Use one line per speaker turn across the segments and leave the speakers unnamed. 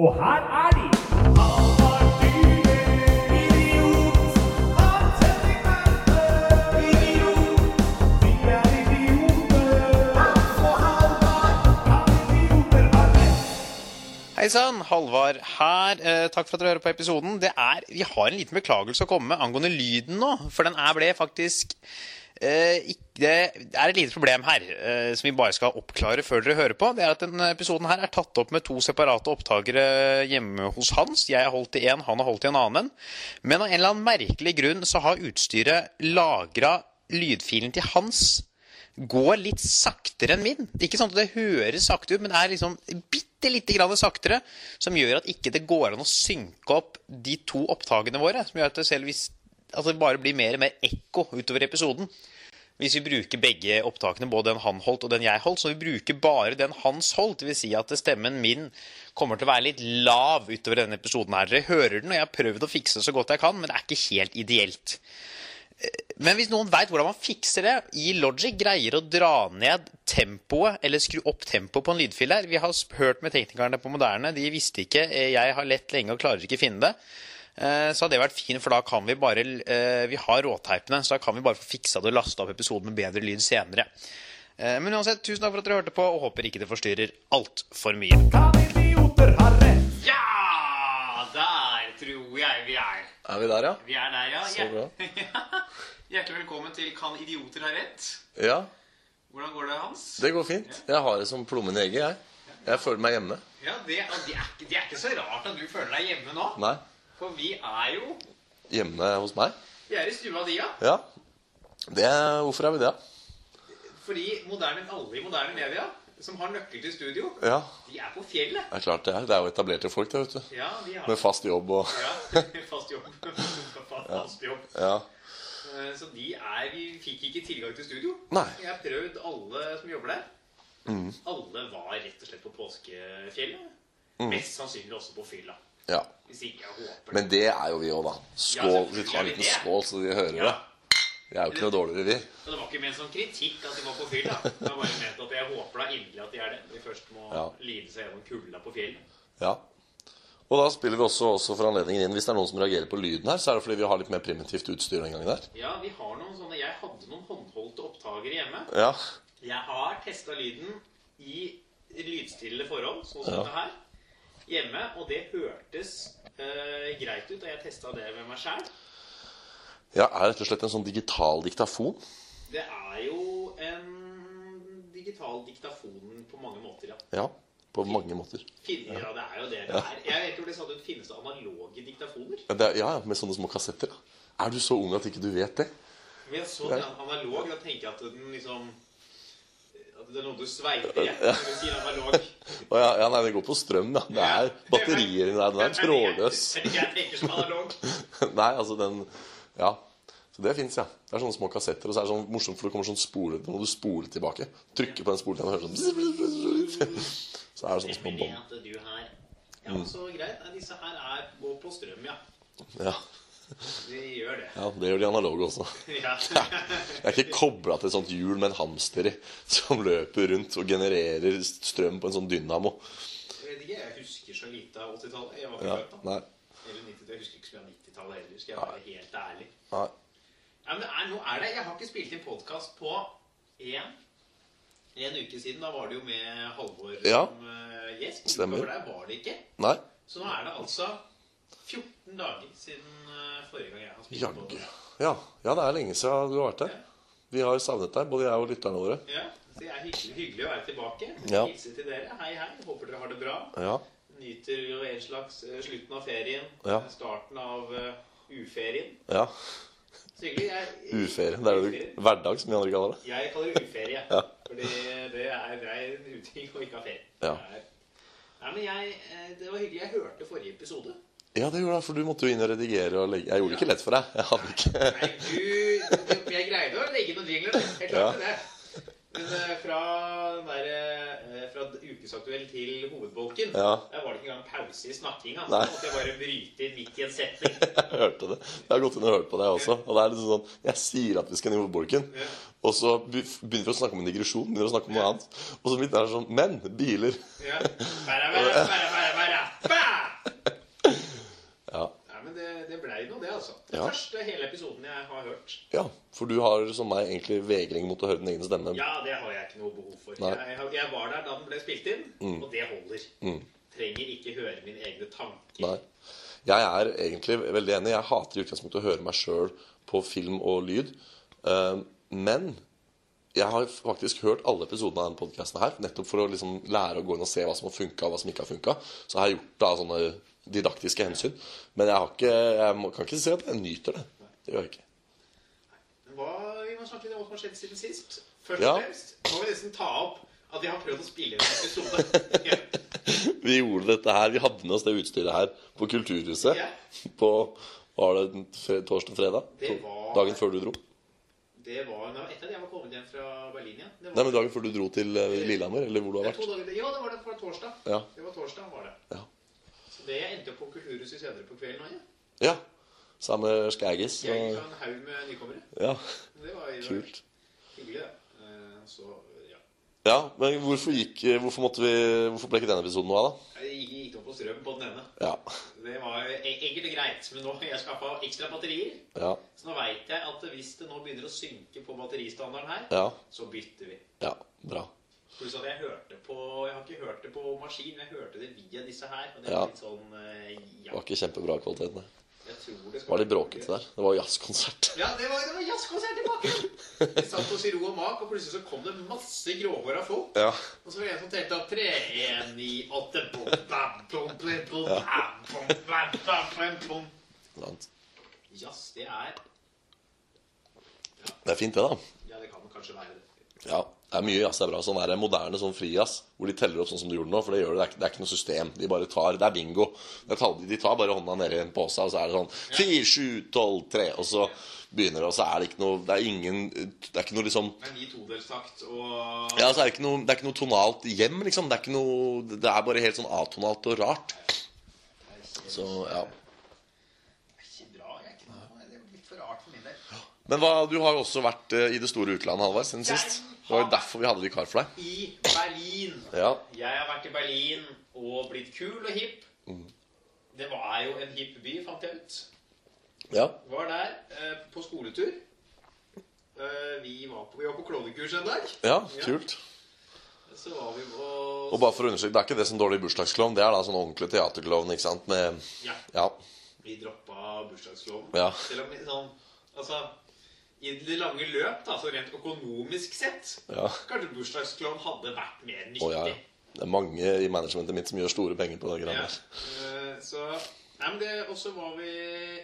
Og her er de! Han var dyr, idiot. Vi er idioter. Han idioter har rett.
Hei sann, Halvard her. Eh, takk for at dere hører på episoden. Det er, vi har en liten beklagelse å komme med angående lyden nå, for den er ble faktisk eh, ikke, Det er et lite problem her eh, som vi bare skal oppklare før dere hører på. Det er at denne episoden her er tatt opp med to separate opptakere hjemme hos Hans. Jeg har holdt i én, han har holdt i en annen. Men av en eller annen merkelig grunn så har utstyret lagra lydfilen til Hans går litt saktere enn min. Ikke sånn at det høres sakte ut, men det er liksom bitte lite grann saktere, som gjør at ikke det går an å synke opp de to opptakene våre. Som gjør at det, selv hvis, at det bare blir mer og mer ekko utover episoden. Hvis vi bruker begge opptakene, både den han holdt og den jeg holdt, så vi bruker bare den hans holdt, dvs. Si at stemmen min kommer til å være litt lav utover denne episoden her. Dere hører den, og jeg har prøvd å fikse det så godt jeg kan, men det er ikke helt ideelt. Men hvis noen veit hvordan man fikser det i Logic, greier å dra ned tempoet eller skru opp tempoet på en lydfil der. Vi har sp- hørt med teknikerne på Moderne, de visste ikke. eh, Jeg har lett lenge og klarer ikke finne det. Eh, Så hadde det vært fint, for da kan vi bare eh, Vi har råteipene, så da kan vi bare få fiksa det og lasta opp episoden med bedre lyd senere. Eh, Men uansett, tusen takk for at dere hørte på, og håper ikke det forstyrrer altfor mye.
Han idioter har rett.
Ja, der tror jeg vi er.
Er vi der, ja?
Vi er der, ja.
Så bra.
Ja. Hjertelig velkommen til Kan idioter ha rett?
Ja,
Hvordan går det, Hans?
det går fint. Jeg har det som plommen i egget, jeg. Jeg føler meg hjemme.
Ja, det, og det, er, ikke- det er ikke så rart at du føler deg hjemme nå.
Nei,
For vi er jo
hjemme hos meg.
Vi er i stua di, ja.
Ja. Det, hvorfor er vi det?
Fordi moderne, alle i moderne media som har nøkkel til studio,
Ja,
de er på fjellet.
det er klart det er. Det er jo etablerte folk, det, vet du.
Ja, de har
Med fast jobb og
ja, fast jobb. fast jobb.
Ja.
Eh, Så de er Vi fikk ikke tilgang til studio.
Nei. Mm.
Jeg har prøvd alle som jobber der. Alle var rett og slett på påskefjellet. Mest sannsynlig også på fylla.
ja.
Hvis ikke jeg håper
Mm. Men det er jo vi òg, da. Skål. Vi tar en liten skål, så de hører det. Vi er jo ikke noe dårligere, vi.
Og det var ikke ment som kritikk at de var på fylla. Det var bare ment at jeg håper da inderlig at de er det. Når de først må
Ja.
lide seg gjennom kulda på fjellet.
Ja. Og da spiller vi også, også for anledningen inn. Hvis det er noen som reagerer på lyden her, så er det fordi vi har litt mer primitivt utstyr den gangen der.
Ja, vi har noen sånne Jeg hadde noen håndholdte opptakere hjemme.
Ja.
Jeg har testa lyden i lydstille forhold, sånn som
Ja.
det her, hjemme, og det hørtes eh, greit ut. Og jeg testa det med meg sjæl.
ja. Er rett og slett en sånn digital diktafon.
Det er jo en digital diktafon på mange måter, ja.
Ja. På mange måter.
Finner, ja. det er jo det det er. Jeg vet ikke hvor det sa det finnes analoge diktafoner.
Ja, det er, ja, ja, med sånne små kassetter. Ja. Er du så ung at ikke du vet det?
Men jeg så den analog, da tenker jeg at den liksom At det er noe du sveiper i. Når du sier analog.
Å, ja, ja, nei, det går på strøm, ja. Det er batterier i den. Den er trådløs.
Jeg, jeg tenker som analog.
Nei, altså den Ja. Så det fins, ja. Det er sånne små kassetter. Og så er det sånn morsomt, for det kommer sånn spole Nå må du spole tilbake. Trykke på den spolen, og hører sånn Så er det sånne små
Men det
bånd.
at du her Ja,
Mm.
så greit. Nei, disse her er går på strøm, ja.
Ja.
De gjør det.
ja, det gjør de analoge også.
Ja.
Jeg er ikke kobla til et sånt hjul med en hamster i, som løper rundt og genererer strøm på en sånn dynamo.
Jeg vet ikke, jeg husker så lite av 80-tallet. Jeg var
Ja,
ikke født da.
nei,
Eller 90-tallet. Jeg husker ikke så mye av 90-tallet heller, skal jeg være helt ærlig.
nei.
Ja, men det er, nå er det, Jeg har ikke spilt inn podkast på én en uke siden. Da var det jo med Halvor
Ja.
som eh, gjest.
Stemmer.
Utover der var det ikke.
nei.
Så nå er det altså 14 dager siden eh, forrige gang jeg har spilt
Jaggu.
podkast.
Ja. ja, det er lenge siden du har vært her. Vi har savnet deg, både jeg og lytterne våre.
Ja, så det er hyggelig, hyggelig å være tilbake.
Ja.
Hilse til dere. Hei, hei. Håper dere har det bra.
Ja.
Nyter jo en slags eh, slutten av ferien.
Ja.
Starten av eh, uferien.
ja.
Så hyggelig. Jeg,
Uferie. Det er jo hverdag, som vi andre kaller det.
Jeg kaller det uferie.
Ja.
Fordi det er, det er en uting å ikke ha ferie.
Ja.
Det er- Nei, men jeg, eh, Det var hyggelig. Jeg hørte forrige episode.
Ja, det gjorde jeg, for du måtte jo inn og redigere og legge Jeg gjorde det ikke lett for deg. Jeg hadde ikke
Nei, du, Jeg greide å legge noen jingler. da. Jeg klarte det. Men eh, fra, den der, eh, fra ukesaktuell til hovedbolken
Ja.
Der var det ikke engang pause i snakkinga. Så
Nei.
måtte jeg bare bryte inn midt i en setning.
Jeg hørte det. Jeg har gått inn og hørt på deg også. Og det er liksom sånn Jeg sier at vi skal inn i hovedbolken,
Ja.
og så be- begynner vi å snakke om en digresjon. Begynner å snakke om noe annet. Og så midt der er det sånn Men biler.
Ja. Bæra, bæra, bæra, bæra, bæra. Bæ! altså. jeg har hørt.
Ja, for du har som meg egentlig vegring mot å høre din egen stemme.
Ja, det har jeg ikke noe behov for.
Nei. Mm.
Jeg, jeg, jeg var der da den ble spilt inn, og det holder. Trenger ikke høre mine egne tanker.
Nei. Jeg er egentlig veldig enig. Jeg hater i utgangspunktet å høre meg sjøl på film og lyd. Eh, Men jeg har faktisk hørt alle episodene av denne podkasten her, nettopp for å liksom lære å gå inn og se hva som har funka, og hva som ikke har funka. Så jeg har gjort det av sånne didaktiske hensyn. Men jeg, har ikke, jeg må- kan ikke si at jeg nyter det. Det gjør jeg ikke.
Hva, vi må snakke litt om hva som har skjedd siden sist. Først
Ja.
og fremst må vi nesten ta opp at vi har prøvd å spille inn en episode. Ja.
Vi gjorde dette her, vi hadde med oss det utstyret her på Kulturhuset
Ja.
på var det den fre- torsdag-fredag?
Det var-
Dagen før du dro?
Det var det var etter at jeg var kommet hjem fra Berlin igjen. Det
Nei,
var,
men dagen før du dro til eh, Lillehammer, eller hvor du har
det er
vært.
to dager til. Ja, det var det fra torsdag.
Ja.
Det var torsdag, var det.
Ja.
Så det jeg endte opp på Kulturhuset senere på kvelden òg, jeg.
ja. Samme Skægis.
Jeg gikk
og-
fra en haug med nykommere.
Ja,
Det var jo
kult.
hyggelig, det. Eh, Så, ja.
Ja, men hvorfor gikk Hvorfor, måtte vi, hvorfor ble ikke denne episoden noe av,
Jeg gikk- gikk opp på strøm på den ene.
da?
Det var jo e- enkelt og greit, men nå har jeg skaffa ekstra batterier.
Ja. Ja.
Så nå veit jeg at hvis det nå begynner å synke på batteristandarden her,
Ja.
så bytter vi.
Ja. Bra.
Pluss at jeg hørte på Jeg har ikke hørt det på maskin, men jeg hørte det via disse her. Og det er
Ja.
litt sånn eh,
Det
Ja,
var ikke kjempebra kvalitet, nei.
jeg tror det skal
Var litt bråkete der. Det var jazzkonsert.
Ja, det var, det var jazzkonsert i bakken! Vi satt oss i ro og mak, og plutselig så kom det masse gråhåra folk.
Ja.
Og så var det en som telte opp 3, 1, 9, 8 bom, bam, bom, blim, bom, bam, bom, bam, bam, bam, bom.
Sant.
Jazz, det er
Det er fint, det, da.
Ja, det kan kanskje være det.
Ja, det er mye jazz det er bra. Sånn er det moderne sånn frijazz, hvor de teller opp sånn som du gjorde nå. For det gjør det, det er, ikke- det er ikke noe system. De bare tar Det er bingo. Det er tall, de tar bare hånda ned i en pose, og så er det sånn fire, sju, tolv, tre, og så begynner det, og så er det ikke noe Det er ingen Det er ikke noe liksom
Men i todelstakt og
Ja, så er det ikke noe, det er ikke noe tonalt hjem, liksom. Det er ikke noe Det er bare helt sånn atonalt og rart. Så, ja.
Ikke bra. Jeg er ikke noe, det er litt for rart for min del.
Men hva, du har jo også vært eh, i det store utlandet, Halvard, siden sist. Det var jo derfor vi hadde vikar for deg.
I Berlin.
Ja.
Jeg har vært i Berlin og blitt kul og hipp.
Mm.
Det var jo en hipp by, fant jeg ut.
Ja.
Var der eh, på skoletur. Eh, vi, var på, vi var på klovnekurs en dag.
ja kult.
Så var vi på
Og bare for å understreke, Det er ikke det som dårlig bursdagsklovn, det er da sånn ordentlig teaterklovn. ikke sant? Med,
Ja,
ja,
vi droppa bursdagsloven.
Ja.
Selv om vi sånn Altså, i det lange løp, da, så rent økonomisk sett,
Ja.
kanskje bursdagsklovn hadde vært mer nyttig.
og ja, ja. Det er mange i managementet mitt som gjør store penger på det greiene
Ja.
der.
Eh, Så Nei, men det Og så var vi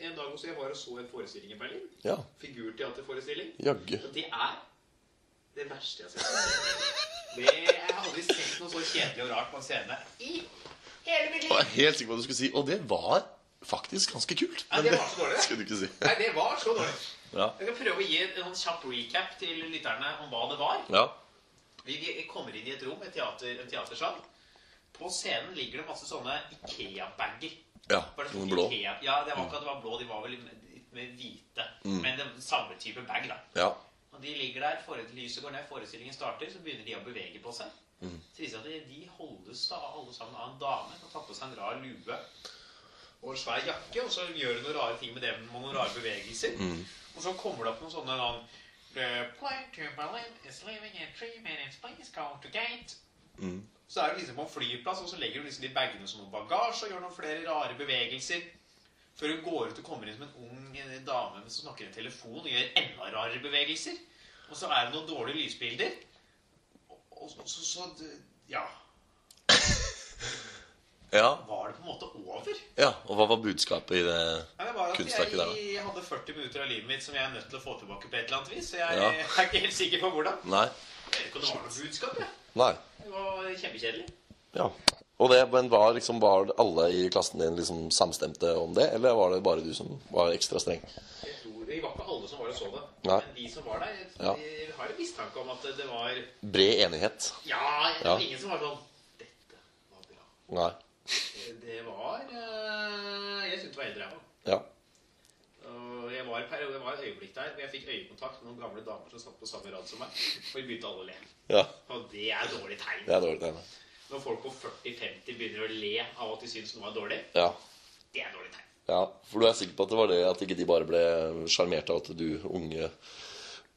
en dag også Jeg var og så en forestilling i Berlin.
Ja,
Figurteaterforestilling.
jaggu.
Og det er det verste jeg har sett. Det, jeg har aldri sett noe så kjedelig og rart på en scene i hele mitt
Jeg
liv.
var helt sikker på at du skulle si Og det var faktisk ganske kult.
Ja, det var så dårlig.
det skulle du ikke si.
Nei, det var så dårlig.
Ja.
Jeg skal prøve å gi en sånn kjapp recap til lytterne om hva det var.
ja.
Vi, vi kommer inn i et rom, et teater, en teatersal. På scenen ligger det masse sånne Ikea-bager.
Ja,
Var det
Noen
sånn
blå.
Ikea? Ja, det var ikke at det var blå, de var vel litt mer hvite. Men det var samme type bag, da.
Ja.
Og de ligger der, for- lyset går ned, forestillingen starter, så begynner de å bevege på seg. Så viser det seg at de holdes da alle sammen av en dame som tar på seg en rar lue og en svær jakke, og så gjør hun noen rare ting med det med noen rare bevegelser. Og så kommer det opp noen sånne sånn The plane to Berlin is leaving in three minutes. Please go to gate.
mm.
Så er det liksom på en flyplass, og så legger hun liksom de bagene som noen bagasje og gjør noen flere rare bevegelser. Før hun går ut og kommer inn som en ung eh, dame som snakker i en telefon og gjør enda rarere bevegelser. Og så er det noen dårlige lysbilder. Og, og så, så, så det- Ja.
ja.
Var det på en måte over?
Ja, Og hva var budskapet i det
Nei, det var at jeg,
kunstverket der, da?
jeg hadde 40 minutter av livet mitt som jeg er nødt til å få tilbake på et eller annet vis. Så jeg
Ja.
er ikke helt sikker på hvordan.
Nei.
Jeg vet ikke om det var noe budskap. jeg.
Nei.
Det var kjempekjedelig.
Ja. Og det, men var, liksom, var alle i klassen din liksom samstemte om det, eller var det bare du som var ekstra streng?
Jeg tror, Det var ikke alle som var og så det.
Nei.
Men de som var der, jeg,
Ja.
jeg har en mistanke om at det var
Bred enighet.
Ja, jeg
Ja.
tror ingen som var sånn Dette var bra.
Nei.
Det var eh, Jeg syntes det var eldre, jeg òg.
Ja.
Og Jeg var, i periode, jeg var et øyeblikk der hvor jeg fikk øyekontakt med noen gamle damer som satt på samme rad som meg. Og vi begynte alle å le.
ja.
Og det er dårlig tegn.
Det er dårlig tegn.
Når folk på 40-50 begynner å le av at de syns noe er dårlig,
Ja.
det er dårlig tegn.
Ja, For du er sikker på at det var det at ikke de bare ble sjarmert av at du unge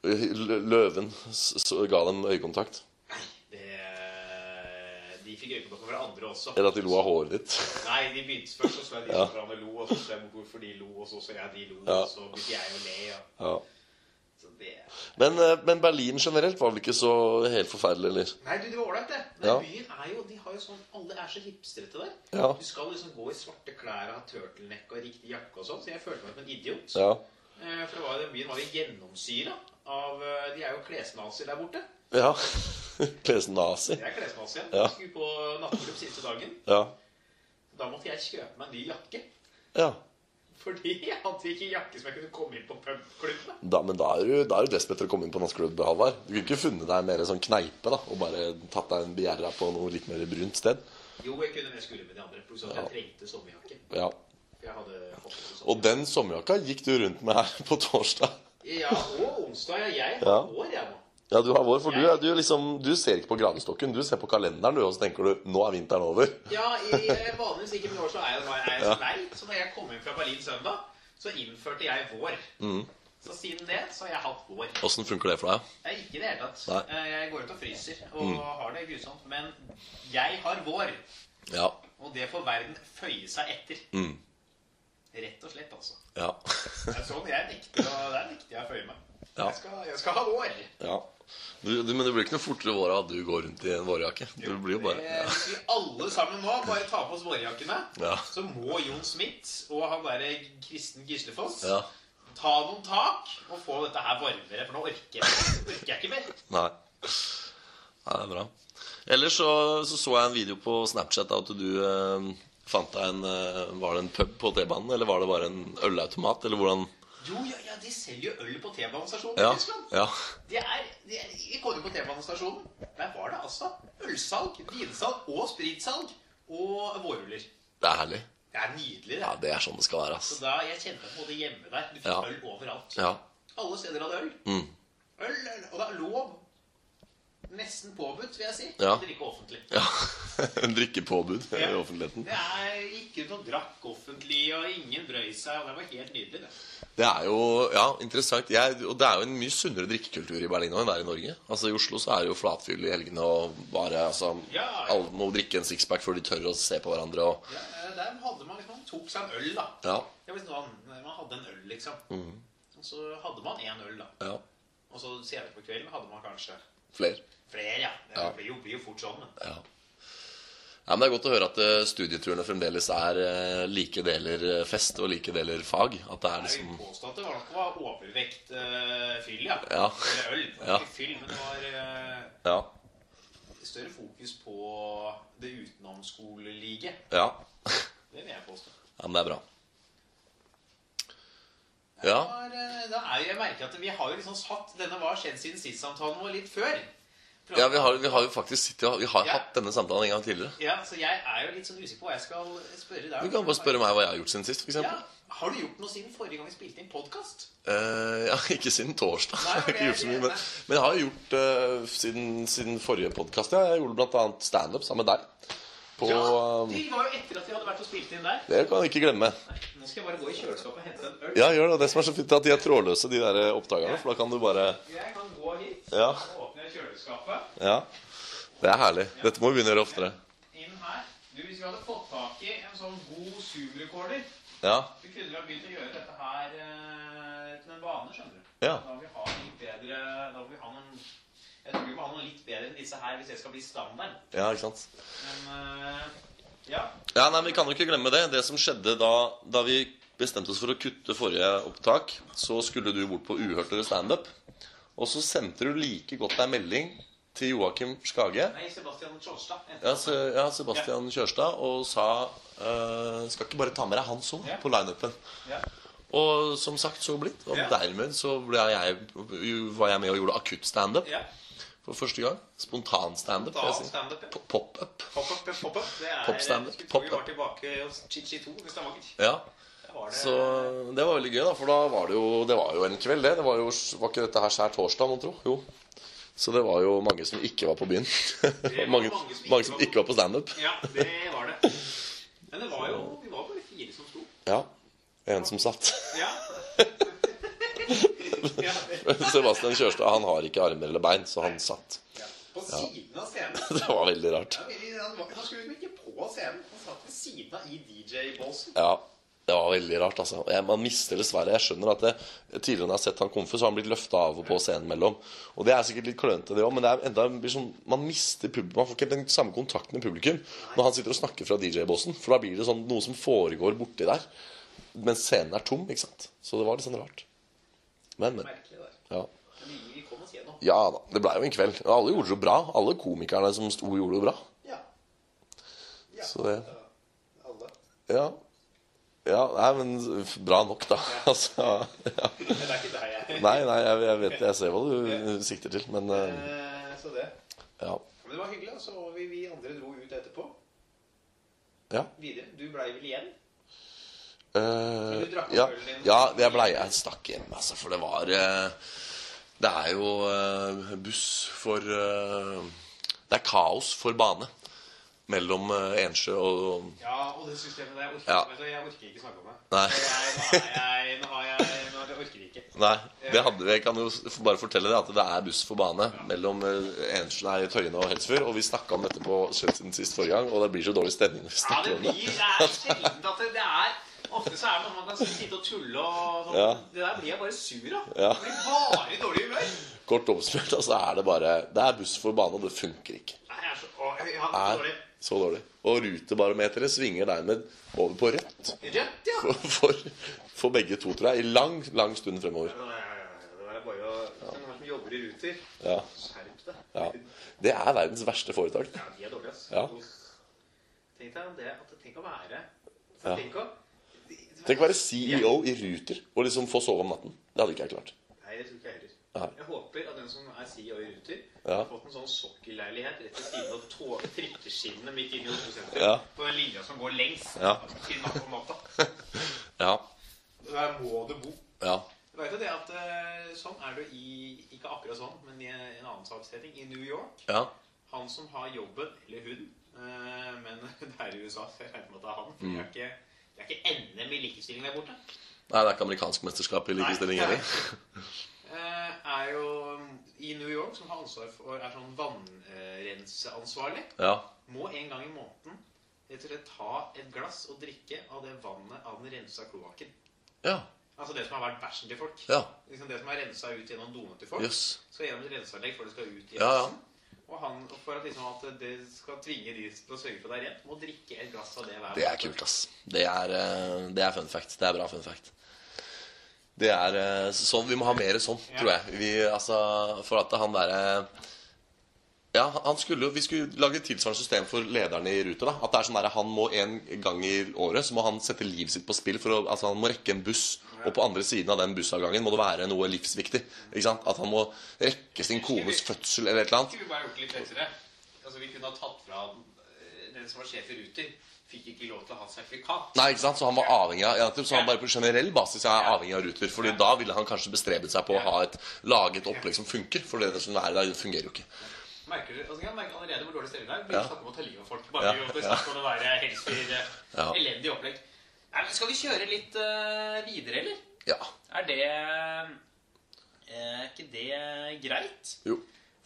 lø- løven s s ga dem øyekontakt?
Det, eh, de fikk øyekontakt med hverandre også.
Eller at de lo av håret ditt?
Nei, de begynte først, og så er de
Ja.
som hverandre lo, og så ser jeg hvorfor de lo, og så så jeg de lo,
Ja.
og så begynte jeg å le. Ja.
Ja.
Så det...
Men, eh, men Berlin generelt var vel ikke så helt forferdelig, eller?
Nei, du, det var ålreit, det. Men
Ja.
byen er jo, de har jo sånn, Alle er så hipstrete der.
Ja.
Du skal liksom gå i svarte klær og ha turtleneck og riktig jakke og sånn, så jeg følte meg som en idiot.
Ja.
Eh, For det var, den byen var jo gjennomsyra av eh, De er jo klesnazier der borte.
ja. Kle som nazi.
Jeg er klesnazi.
Ja.
Jeg Skulle på nattklubb siste dagen.
Ja.
Da måtte jeg kjøpe meg en ny jakke.
ja.
Fordi jeg hadde ikke jakke som jeg kunne komme inn på pubklubben. med.
Da, men da er du, da er du desperat etter å komme inn på nattklubb, Halvard. Du kunne ikke funnet deg mer sånn kneipe da, og bare tatt deg en bjerra på noe litt mer brunt sted?
Jo, jeg kunne, men jeg skulle med de andre. Pluss at
Ja.
jeg trengte sommerjakke.
Ja.
For jeg hadde fått det sånn.
Og den sommerjakka gikk du rundt med her på torsdag.
Ja, og onsdag. Ja, jeg
Ja.
har hår, jeg nå.
Ja, du har vår, for du, er- du, er liksom, du ser ikke på gradestokken, du ser på kalenderen, du, og så tenker du nå er vinteren over.
Ja, i, eh, vanligvis ikke, men i år så er jeg, er jeg så lei. Så da jeg kom hjem fra Berlin søndag, så innførte jeg vår.
Mm.
Så siden det så har jeg hatt vår.
Åssen funker det for deg?
Jeg er ikke i det hele tatt.
Nei. Mm.
Eh, Jeg går ut og fryser og har det grusomt. Men jeg har vår,
Ja.
og det får verden føye seg etter.
Mm.
Rett og slett, altså.
Ja.
Det er sånn jeg nekter å, det er nekter jeg å føye meg.
Ja.
Jeg, skal, jeg skal ha vår.
ja. Du, du, men det blir ikke noe fortere vår av at du går rundt i en vårjakke. Du blir jo bare
Eh,
ja.
Hvis vi alle sammen nå bare tar på oss vårjakkene,
Ja.
så må Jon Smith og han derre Kristen Gislefoss
ja.
Ta noen tak og få dette her varmere, for nå orker jeg, orker jeg ikke mer.
Nei. Nei, det er bra. Ellers så, så så jeg en video på Snapchat av at du eh, fant deg en eh, Var det en pub på T-banen, eller var det bare en ølautomat, eller hvordan
Jo, ja, ja, de selger jo øl på T-banestasjonen
Ja.
i Tyskland.
ja.
De er, de er, jeg kom jo på T-banestasjonen. Der var det altså ølsalg, vinsalg og spritsalg og vårruller.
Det er herlig.
Det er nydelig, det.
Ja, det er sånn det skal være,
Så
ass.
da, Jeg kjente meg på det hjemme der. Du fikk
Ja.
øl overalt.
Ja.
Alle steder hadde øl.
Mm.
Øl, øl, Og det er lov. Nesten påbudt, vil jeg si.
Ja.
Å drikke offentlig.
ja. En drikkepåbud i
Ja.
offentligheten.
Det er, gikk rundt og drakk offentlig, og ingen brøy seg. og Det var helt nydelig, det.
Det er jo ja, interessant. Jeg, og det er jo en mye sunnere drikkekultur i Berlin nå enn det er i Norge. Altså I Oslo så er det jo flatfyll i helgene og bare altså,
Ja, ja.
Alle må drikke en sixpack før de tør å se på hverandre og
Ja, eh, der hadde man liksom, man tok seg en øl, da.
Ja. Mm.
Det var liksom sånn, man hadde en øl, liksom. Og så hadde man én øl, da.
ja
Og så senere på kvelden hadde man kanskje
Flere.
flere, ja. Det
Ja.
Blir, jo, blir jo fort sånn. Men.
Ja. ja. Men det er godt å høre at eh, studieturene fremdeles er eh, like deler eh, fest og like deler fag. At det er
Jeg
liksom
vil påstå at det var nok var overvekt eh, fyll, ja.
Ja.
Eller øl. Det var
Ja.
Ikke fyll, men det var eh,
Ja.
større fokus på det utenomskolelige.
Ja.
Det vil jeg påstå.
ja men det er bra. Ja.
Det var, eh, da er jo, jeg merker at vi har jo liksom satt Denne var skjedd siden sist-samtalen vår litt før.
Ja, vi har, vi har jo faktisk sittet, og- vi har
Ja.
hatt denne samtalen en gang tidligere.
Ja, så jeg er jo litt sånn usikker på hva jeg skal spørre deg.
Du kan bare spørre meg hva jeg har gjort siden sist, f.eks.
Ja, Har du gjort noe siden forrige gang vi spilte inn podkast?
Eh, ja, ikke siden torsdag.
Nei,
Jeg har ikke gjort så mye, men,
nei.
men jeg har jo gjort eh, siden, siden forrige podkast. Ja, jeg gjorde bl.a. standup sammen med deg. På,
Ja,
eh,
det var jo etter at vi hadde vært og spilt inn der.
det kan jeg ikke glemme.
Nå skal jeg bare gå i kjøleskapet og hente en øl.
Ja, gjør det. Det som er så fint, er at de er trådløse, de der oppdagerne. For da kan du bare
Jeg kan gå hit,
Ja.
så åpner jeg kjøleskapet.
Ja. Det er herlig. Dette må vi begynne å gjøre oftere.
Inn her. Du, Hvis vi hadde fått tak i en sånn god Zoom-recorder,
Ja.
så kunne vi ha begynt å gjøre dette her eh, til en vane, skjønner du.
Ja.
Da vil vi ha litt bedre Da vil vi ha noen Jeg tror vi må ha noen litt bedre enn disse her hvis det skal bli standard.
ja, ikke sant.
Men eh, ja.
Ja, nei, men Vi kan jo ikke glemme det. Det som skjedde da, da vi bestemte oss for å kutte forrige opptak, så skulle du bort på Uhørt og gjøre standup. Og så sendte du like godt deg melding til Joakim Skage.
Nei, Sebastian Tjolstad.
Ja, Se- ja, Sebastian Kjørstad, og sa eh, Skal ikke bare ta med deg han som
Ja.
på lineupen?
Ja.
Og som sagt, så blitt. Og
Ja.
dermed så ble jeg, var jeg med og gjorde akutt standup
Ja.
for første gang. Spontan standup. vil jeg
Spontan
si.
standup, ja.
Po- Pop-up.
Pop-up, pop-up. Det er
Popstandard.
skulle tro vi var
Pop-up.
tilbake hos Chichi 2 i Stavanger.
Ja.
Der var det-
Så det var veldig gøy, da. For da var det jo, det var jo en kveld, det. det var, jo, var ikke dette her skjær torsdag, mon tro? Jo. Så det var jo mange som ikke var på byen.
var mange
mange,
som ikke
mange som
var på-
ikke var på standup.
Ja, det var det. Men det var jo Vi var bare fire som sto.
Ja. En som satt.
Ja. ja.
Sebastian Kjørstad han har ikke armer eller bein, så han satt.
På siden av scenen.
Det var veldig rart.
Ja, vi- Han var- han skulle liksom ikke på scenen. Han satt ved siden av i DJ-båsen.
Ja, det var veldig rart, altså. Jeg, man mister dessverre Jeg skjønner at det, tidligere når jeg har sett han komfe, så har han blitt løfta av og på scenen mellom. Og det er sikkert litt klønete, det òg, men det er enda blir sånn, man mister publikum. Man får ikke den samme kontakten med publikum når han sitter og snakker fra DJ-båsen. For da blir det sånn noe som foregår borti der, mens scenen er tom, ikke sant. Så det var litt sånn rart. Men, men.
Merkelig der.
Ja.
Men vi kom oss gjennom.
Ja da. Det blei jo en kveld. Og alle gjorde det jo bra. Alle komikerne som sto, gjorde det bra.
Ja. ja.
Så det
Alle.
Ja. Ja, nei, men f- bra nok, da. Altså, ja.
Men det er ikke deg, jeg.
Nei, nei, jeg, jeg vet Jeg ser hva du sikter til, men eh,
Eh, Så det.
ja.
Men det var hyggelig, altså. og så vi, vi andre dro ut etterpå.
Ja.
Videre. Du blei vel igjen?
eh,
du drakk
ja.
ølen din?
ja jeg blei Jeg stakk hjem, altså, for det var eh, Det er jo eh, buss for eh, Det er kaos for bane mellom eh, Ensjø og
Ja, og det systemet der jeg orker,
Ja.
vet du, jeg orker ikke snakke om det.
Nei.
Jeg, nå er jeg, nå har jeg, nå jeg orker ikke.
Nei, det hadde vi. Jeg kan jo s- bare fortelle det at det er buss for bane mellom eh, Ensjø, nei, Tøyen og Helsfyr. Og vi snakka om dette på Kjønnsiden sist forrige gang, og det blir så dårlig stemning når vi
Ja, det
snakker om
blir,
det.
det er sjeldent at det, det er, ofte så er det noe man kan sitte og tulle og sånn.
Ja.
Det der blir jeg bare sur av.
Ja.
Jeg blir bare i dårlig humør.
Kort oppsummert, altså er det bare Det er buss for bane, og det funker ikke.
Nei, jeg er så, å, jeg har det så
Er
dårlig.
så dårlig. Og rutebarometeret svinger dermed over på rødt
Rødt, ja.
for, for, for begge to, tror jeg, i lang, lang stund fremover.
Nei, nei, nei, Det der er bare å, hvis det er noen som jobber i ruter,
Ja,
skjerp deg.
ja. Det er verdens verste foretak.
Ja, de er dårlige, ass.
Ja.
Tenk deg det, at tenk å være,
Ja.
tenk å,
Tenk å være CEO i Ruter og liksom få sove om natten. Det hadde ikke jeg klart.
Nei, det tror ikke jeg heller.
Nei.
Jeg håper at den som er CEO i Ruter,
Ja.
har fått en sånn sokkelleilighet rett ved siden av tog- trikkeskinnene midt inne i Oslo sentrum.
Ja.
På den linja som går lengst
Ja.
til natt om natta.
Ja.
Der må du bo.
Ja.
Du vet jo det at eh, sånn er du i Ikke akkurat sånn, men i en annen sammensetning. I New York.
Ja.
Han som har jobben, eller hun, eh, men det er i USA, så jeg regner med at det er han. For
Mm.
det er ikke, det er ikke NM i likestilling der borte.
Nei, det er ikke amerikansk mesterskap i likestilling heller.
Eh, er jo mm, i New York, som har ansvar for, er sånn vannrenseansvarlig,
Ja.
må en gang i måneden rett og slett ta et glass og drikke av det vannet av den rensa kloakken.
Ja.
Altså det som har vært bæsjen til folk.
Ja.
Liksom det som er rensa ut gjennom doene til folk.
Jøss.
Skal gjennom et renseanlegg før det skal ut i
Ja, ja.
hessen. Og han, og for at, liksom, at det skal tvinge de til å sørge for at det er rent, må drikke et glass av det hver
Det er kult, ass. Det er, eh, det er fun fact. Det er bra fun fact. Det er eh, sånn Vi må ha mer sånn,
Ja.
tror jeg. Vi, altså, for at han derre ja, han skulle, jo- Vi skulle lage et tilsvarende system for lederne i Ruter. da At det er sånn der, Han må en gang i året Så må han sette livet sitt på spill. For å, altså Han må rekke en buss, og på andre siden av den bussavgangen må det være noe livsviktig. Ikke sant? At han må rekke sin kones fødsel eller et eller annet.
Skulle vi bare gjort det litt lettere. Altså, vi kunne ha tatt fra eh, den som var sjef i Ruter. Fikk ikke lov til å ha sertifikat.
Nei, ikke sant? Så han var avhengig av ja, nettopp, Så han bare på generell basis er avhengig av Ruter. Fordi da ville han kanskje bestrebet seg på å ha et, lage et opplegg som funker. For det som er der, det fungerer jo ikke.
Merker du, altså, jeg merker allerede hvor dårlig stemning det er. Begynner
Ja.
å snakke om å ta livet av folk. Bare
Ja,
ja.
ja.
snakke om å være helsedyr.
Ja.
Elendig opplegg. Nei, men skal vi kjøre litt eh, videre, eller?
Ja.
Er det eh, ikke det greit?
Jo.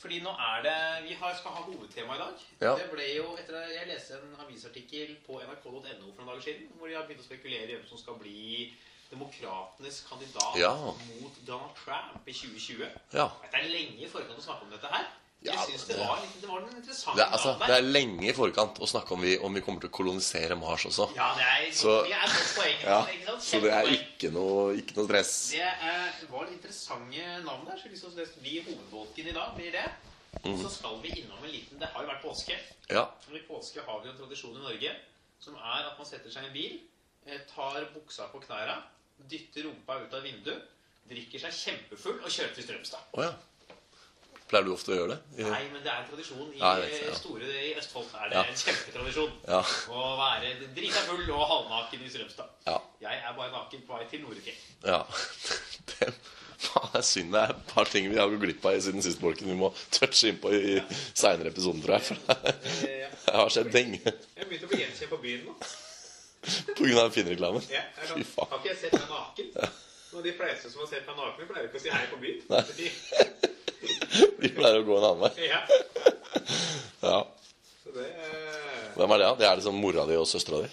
Fordi nå er det Vi har, skal ha hovedtema i dag.
Ja.
Det ble jo etter at Jeg leste en avisartikkel på nrk.no for noen dager siden hvor de har begynt å spekulere i hvem som skal bli demokratenes kandidat
Ja.
mot Donald Trump i 2020.
Ja.
Jeg vet, Det er lenge i forkant å snakke om dette her.
Ja,
jeg syns det,
det-
var litt- det var en interessant
Det er, altså,
dag
det
der.
er lenge i forkant å snakke om vi, om vi kommer til å kolonisere Mars også.
Ja, det er,
Så-
det er et godt poeng.
Ja.
ikke sant?
Så det er
Kjempepoeng.
ikke noe, ikke noe stress.
Det eh, var litt interessante navn der. Så liksom det blir hovedbolken i dag. blir det. Og
Mhm.
så skal vi innom en liten Det har jo vært påske.
Ja.
Og I påske har vi en tradisjon i Norge som er at man setter seg i en bil, eh, tar buksa på knærne, dytter rumpa ut av vinduet, drikker seg kjempefull og kjører til Strømstad.
Å ja. Pleier du ofte å gjøre det?
Nei, men det er en tradisjon i eh,
Ja, jeg vet det, ja.
store i Østfold. er det
Ja.
en kjempetradisjon
Ja.
å være drita full og halvnaken i Strømstad.
Ja.
Jeg er bare naken på vei til Norefjell.
Ja. Det, faen, det er synd det er et par ting vi har gått glipp av i siden sist, bolken. Vi må touche innpå i seinere episoder, tror jeg. For det
Eh,
har skjedd ting.
Jeg begynte å bli gjenkjent på byen nå.
På grunn av den fine reklamen.
Ja, jeg
Fy
kan,
faen.
har ikke jeg sett meg naken? Og de fleste som har sett meg naken, pleier ikke å si hei på byen.
Nei.
De,
De pleier å gå en annen vei.
ja.
Ja.
Så det eh,
Hvem er det, da? Det er liksom mora di og søstera di?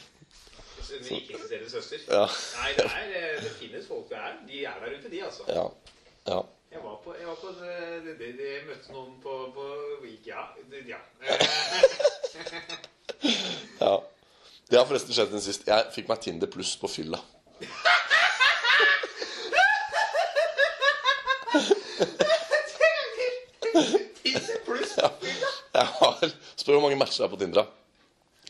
Min ikke-eksisterende søster.
Ja.
Nei, det, er, eh, det finnes folk det er. De er der ute, de, altså.
Ja. ja.
Jeg var på, eh, jeg var på det, det, det, Jeg møtte noen på, på Week- Ja. Det, ja. Eh,
ja. Det har forresten skjedd siden sist. Jeg fikk meg Tinder pluss på fylla.
Tinder pluss
Jeg har, Spør hvor mange matcher det er på Tinder. da.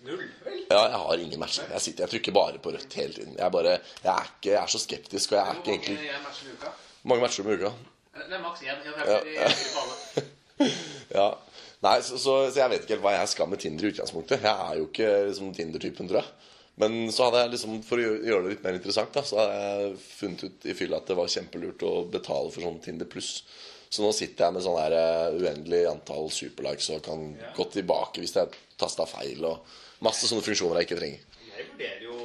null, vel?
Ja, jeg har ingen matcher. Jeg sitter, jeg trykker bare på rødt hele tiden. Jeg, bare, jeg, er, ikke, jeg er så skeptisk, og jeg er ikke egentlig
jeg matcher i uka? Eh,
Mange matcher om uka.
Det er maks én. Jeg matcher i- i bane.
Ja. Nei, så, så, så jeg vet ikke helt hva jeg skal med Tinder i utgangspunktet. Jeg er jo ikke liksom, Tinder-typen, tror jeg. Men så hadde jeg liksom, for å gjø- gjøre det litt mer interessant, da, så hadde jeg funnet ut i fylla at det var kjempelurt å betale for sånn Tinder pluss. Så nå sitter jeg med sånn her eh, uendelig antall superlikes og kan gå tilbake hvis jeg tasta feil og masse sånne funksjoner jeg ikke trenger.
Jeg vurderer jo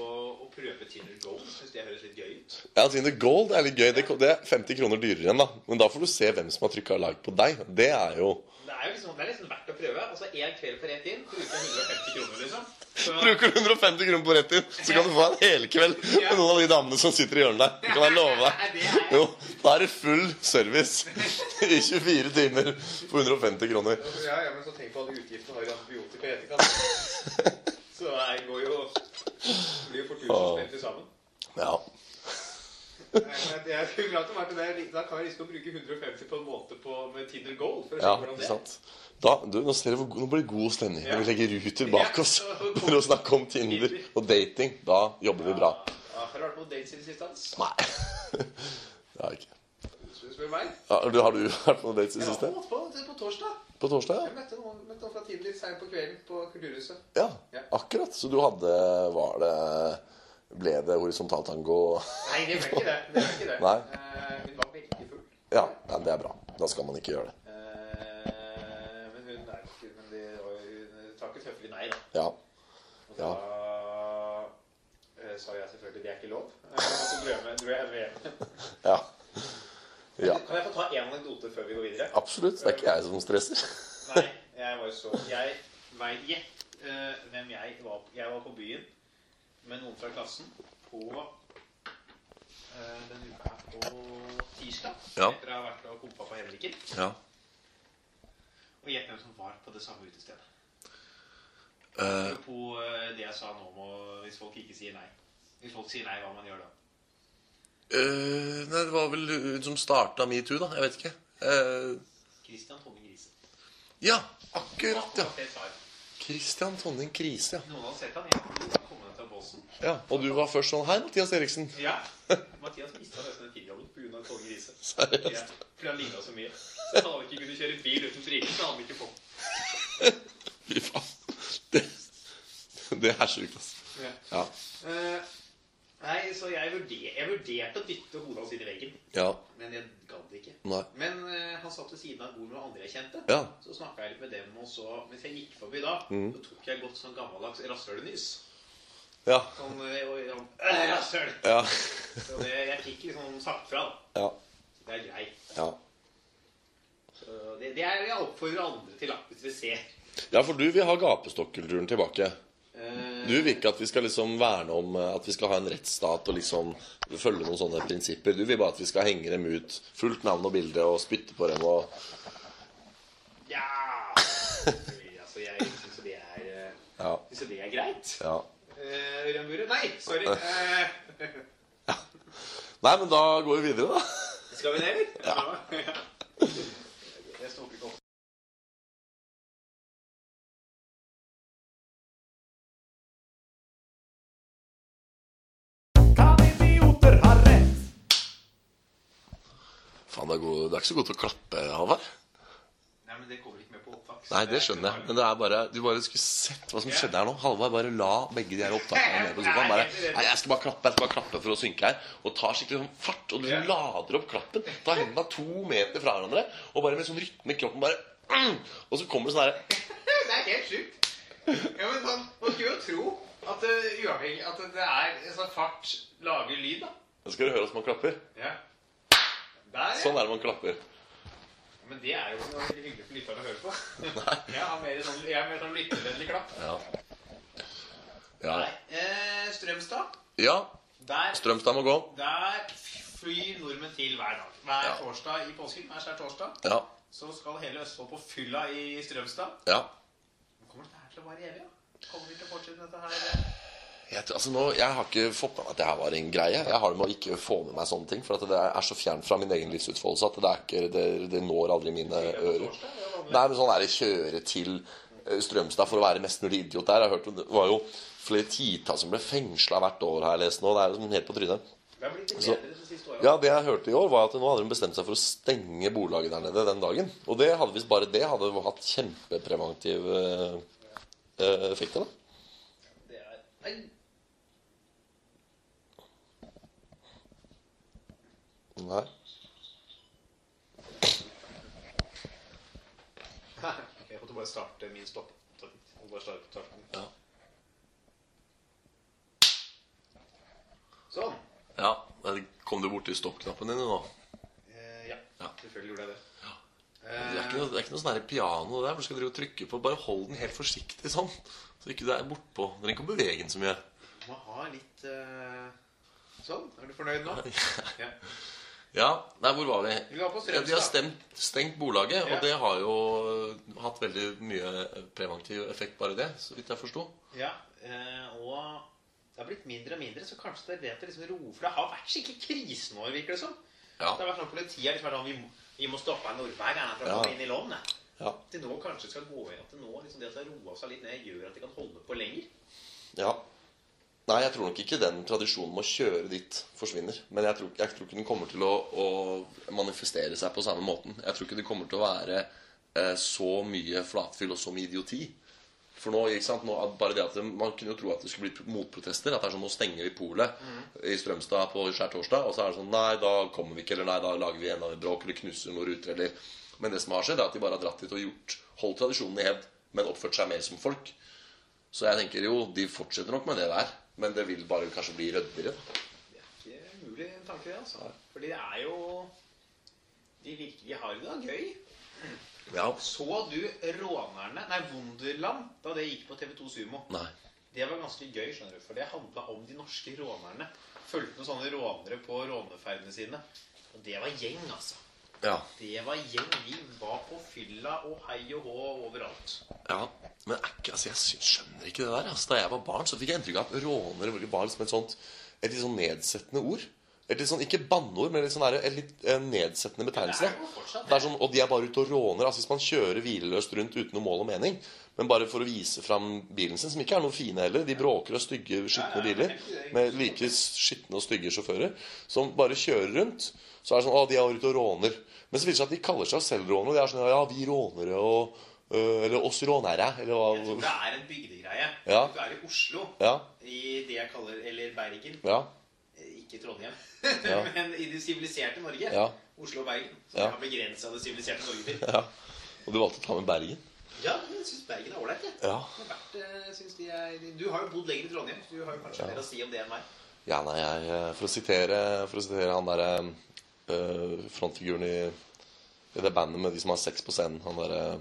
å prøve Tinder Go. Syns det høres litt gøy ut.
Ja, Tinder Gold er litt gøy. Det, det er 50 kroner dyrere igjen, da. Men da får du se hvem som har trykka like på deg. Det er jo
Det er jo liksom, det er liksom verdt å prøve. Altså, Én kveld på rett inn, bruker 150 kroner, liksom. Så,
Bruker du 150 kroner på rett inn, så kan du få en helkveld med noen av de damene som sitter i hjørnet der. Det kan jeg love deg. Jo, da er det full service i 24 timer for 150 kroner.
ja, ja, men så tenk på alle utgiftene har i antibiotika i etterkant. Så det går jo blir jo fort
Åh.
1000 spenn til sammen.
Ja.
Nei, men Jeg skulle glad til å være til det. Da kan jeg liksom bruke 150 på en måte på med Tinder Goal. For å se
ja
hvordan
ikke
det er.
sant. Da, du, nå, ser jeg hvor, god- nå blir det god stemning. Når vi legger ruter bak oss for å snakke om Tinder og dating, da jobber vi bra.
Ja, Har du vært på dates i det siste? Hans?
Nei. Det har jeg ikke.
Hvis du Spør meg.
Ja, du, har du vært på noen dates i det
Jeg var
siste?
på, på, på torsdag.
På torsdag,
Jeg møtte noen, møtte noen fra Tinder litt seint på kvelden på Kulturhuset.
ja. ja.
Ja.
Akkurat. Så du hadde Var det Ble det horisontaltango?
Nei, det ble ikke det. det, ble ikke det.
Nei.
Eh, hun var veldig full.
Ja. ja, det er bra. Da skal man ikke gjøre det.
Eh, men hun er jo ikke Men det var jo Hun tar ikke tøffelig nei, da.
Ja.
Og da eh, sa jeg selvfølgelig det er ikke lov. Eh, og så dro jeg med- dro jeg henne hjem.
Ja. ja.
Kan jeg få ta én anekdote før vi går videre?
Absolutt. Det er ikke jeg som stresser.
Nei, jeg var så Jeg veit gjett eh, hvem jeg var på. Jeg var på byen med noen fra klassen på eh, denne uka her på tirsdag.
Ja.
Etter å ha vært og kompa på Henriken.
Ja.
Og gjett hvem som var på det samme utestedet.
Eh,
Apropos eh, det jeg sa nå om å- hvis folk ikke sier nei. Hvis folk sier nei, hva man gjør da?
eh, nei, det var vel hun som starta metoo, da. Jeg vet ikke. Eh,
Christian Tonning Grise.
ja, akkurat, ja.
Han var helt hard.
Christian Tonning Krise, ja.
Noen hadde sett han, jeg kom ned til bossen.
ja. Og du var først sånn Hei, Mathias Eriksen.
Ja. Mathias mista nesten tidjobben pga. Tonning Grise. Ja,
Seriøst.
fordi han ligna så mye. Så han hadde ikke kunnet kjøre bil uten briller. Så hadde han ikke fått
Fy faen. Det, det er sjukt, altså.
Ja.
Ja.
Eh, Nei, så jeg vurderte, jeg vurderte å dytte hodet hans inn i veggen.
ja.
Men jeg gadd ikke.
Nei.
Men eh, han satt ved siden av et bord med andre jeg kjente.
Ja.
Så snakka jeg litt med dem, og så Mens jeg gikk forbi da,
Mm.
så tok jeg godt sånn gammeldags rasshølnys.
Ja.
Sånn eh, og sånn, «Øh, Rasshøl!
Ja.
Så det, jeg fikk liksom sagt fra. da.
Ja.
Det er greit.
ja.
Så det, det er jeg oppfordrer andre til, da, hvis dere ser.
ja for du vil ha gapestokkulturen tilbake.
Eh,
Du vil ikke at vi skal liksom verne om eh, at vi skal ha en rettsstat og liksom følge noen sånne prinsipper. Du vil bare at vi skal henge dem ut. Fullt navn og bilde og spytte på dem og
Ja Altså, jeg syns jo det er eh,
Ja.
Syns jo det er greit.
ja.
Eh, Ørjan Bure? Nei, sorry. Eh,
Nei, men da går vi videre, da.
skal vi ned, eller? Ja. Jeg stopper ikke opp.
Kan idioter ha rett?
Faen, det er, god, det er ikke så godt å klappe, Halvard.
Nei, men det kommer ikke med på opptak. så
Nei,
er
det
ikke
skjønner jeg.
bare-
Men det er bare, du bare skulle sett hva som skjedde her nå. Halvard bare la begge de her opptakene ned på sofaen. Bare, Nei, jeg skal bare klappe jeg skal bare klappe for å synke her. Og tar skikkelig sånn fart. Og du lader opp klappen. Tar hendene to meter fra hverandre. Og bare med sånn rytme i kroppen bare mm, Og så kommer det sånn herre
Det er helt sjukt. Ja, men man, man skulle jo tro At det, uavhengig, at det er altså, fart lager lyd, da.
Nå skal du høre at man klapper.
Ja. Der,
Sånn er det man klapper.
ja. Men det er jo ikke noe hyggelig for lytterne å høre på. Jeg har mer sånn, jeg har mer sånn lyttervennlig klapp.
Ja. Ja.
Nei. Eh, Strømstad.
ja.
Der,
Strømstad må gå.
der flyr nordmenn til hver dag. Hver
Ja.
torsdag i påsken, hver skjær torsdag,
Ja.
så skal hele Østfold på fylla i Strømstad.
Ja.
Kommer dette her til å vare evig, da? Kommer vi til å fortsette dette her? eh,
Jeg, tror- altså nå, jeg har ikke fått med meg at det her var en greie. Jeg har det med å ikke få med meg sånne ting. For at det er så fjernt fra min egen livsutfoldelse at det, er ikke, det, det når aldri mine ører. Nei, men sånn er det kjøre til eh, Strømstad for å være mest mulig idiot der. Jeg har hørt om Det var jo flere titalls som ble fengsla hvert år, har jeg lest nå. Det er liksom helt på trynet.
Det har blitt litt
Så-
bedre de siste årene.
Ja, Det jeg hørte i år, var at nå hadde de bestemt seg for å stenge bolaget der nede den dagen. Og det hadde visst bare det hadde hatt kjempepreventiv eh, eh, effekt. da.
Det er Nei.
Nei.
Jeg måtte bare starte min stopp. Jeg må bare starte på starten.
Ja.
Sånn.
ja. Kom du borti stoppknappen din nå?
Eh, ja.
Ja.
selvfølgelig gjorde jeg det. Eh,
Det er ikke noe, det er ikke noe sånn her piano der hvor du skal drive og trykke på. Bare hold den helt forsiktig sånn. Så ikke det er bortpå. Den kan bevege den så mye.
Du må ha litt eh, Sånn. Er du fornøyd nå? Ja.
Ja, nei, hvor var vi?
Vi var på
Ja,
Strømstad.
de har stemt, stengt
Ja.
bolaget, og det har jo eh, hatt veldig mye preventiv effekt, bare det, så vidt jeg forsto.
Ja, eh, og det har blitt mindre og mindre, så kanskje det er det å liksom roe For det har vært skikkelig krisenår, virker det som. Det
Ja.
har vært sånn politiet har liksom vært sånn Vi må, vi må stoppe en nordberg her for å
Ja.
komme inn i landet.
Ja.
At de nå kanskje skal gå inn, at det nå liksom det at det har roa seg litt ned, gjør at de kan holde på lenger.
ja. Nei, jeg tror nok ikke den tradisjonen med å kjøre dit forsvinner. Men jeg tror, jeg tror ikke den kommer til å, å manifestere seg på samme måten. Jeg tror ikke det kommer til å være eh, så mye flatfyll og så mye idioti. For nå, ikke sant, nå, at bare det at det, Man kunne jo tro at det skulle bli motprotester. At det er sånn, nå stenger vi polet i Strømstad på skjærtorsdag. Og så er det sånn Nei, da kommer vi ikke. Eller nei, da lager vi enda mer bråk. Eller knuser noen ruter. Eller Men det som har skjedd, er at de bare har dratt dit og gjort holdt tradisjonen i hevd, men oppført seg mer som folk. Så jeg tenker jo, de fortsetter nok med det der. Men det vil bare kanskje bli røddere. da.
Det er ikke mulig en tanke, det, altså. Fordi det er jo De virkelig har det da gøy.
Ja.
Så du Rånerne Nei, Wunderland, da det gikk på TV2 Sumo.
Nei.
Det var ganske gøy, skjønner du, for det handla om de norske rånerne. Fulgte noen sånne rånere på råneferdene sine. Og det var gjeng, altså.
Ja.
Det var gjeng. Vi var på fylla og hei og hå overalt.
ja. Men er ikke, altså, jeg sy- skjønner ikke det der. Altså, da jeg var barn, så fikk jeg inntrykk av at rånere var- var liksom et sånt et litt sånn nedsettende ord. Et litt sånn, Ikke banneord, men litt sånn der, en litt eh, nedsettende betegnelse.
Det er jo fortsatt det.
Det er sånn, Og de er bare ute og råner. Altså Hvis man kjører hvileløst rundt uten noe mål og mening, men bare for å vise fram bilen sin, som ikke er noe fine heller De bråker og stygge, skitne biler med like skitne og stygge sjåfører som bare kjører rundt. Så er det sånn Å, de er ute og råner. Men så viser det seg at de kaller seg selv rånere. Og de er sånn Ja, vi rånere og øh, Eller oss rånere. Eller
Så
hva
det er en bygdegreie.
Ja.
Du er i Oslo,
Ja.
i det jeg kaller Eller Bergen.
Ja.
Eh, Ikke Trondheim,
Ja.
men i det siviliserte Norge.
Ja.
Oslo og Bergen. Som
Ja.
jeg har begrensa det siviliserte Norge til.
ja. Og du valgte å ta med Bergen?
Ja, men jeg syns Bergen er ålreit, jeg.
Ja.
Det har vært, eh, synes de er, du har jo bodd lenger i Trondheim, så du har jo kanskje mer å si om det enn meg.
Ja, nei, jeg eh, For å sitere, for å sitere han derre øh, frontfiguren i, i det bandet med de som har sex på scenen Han derre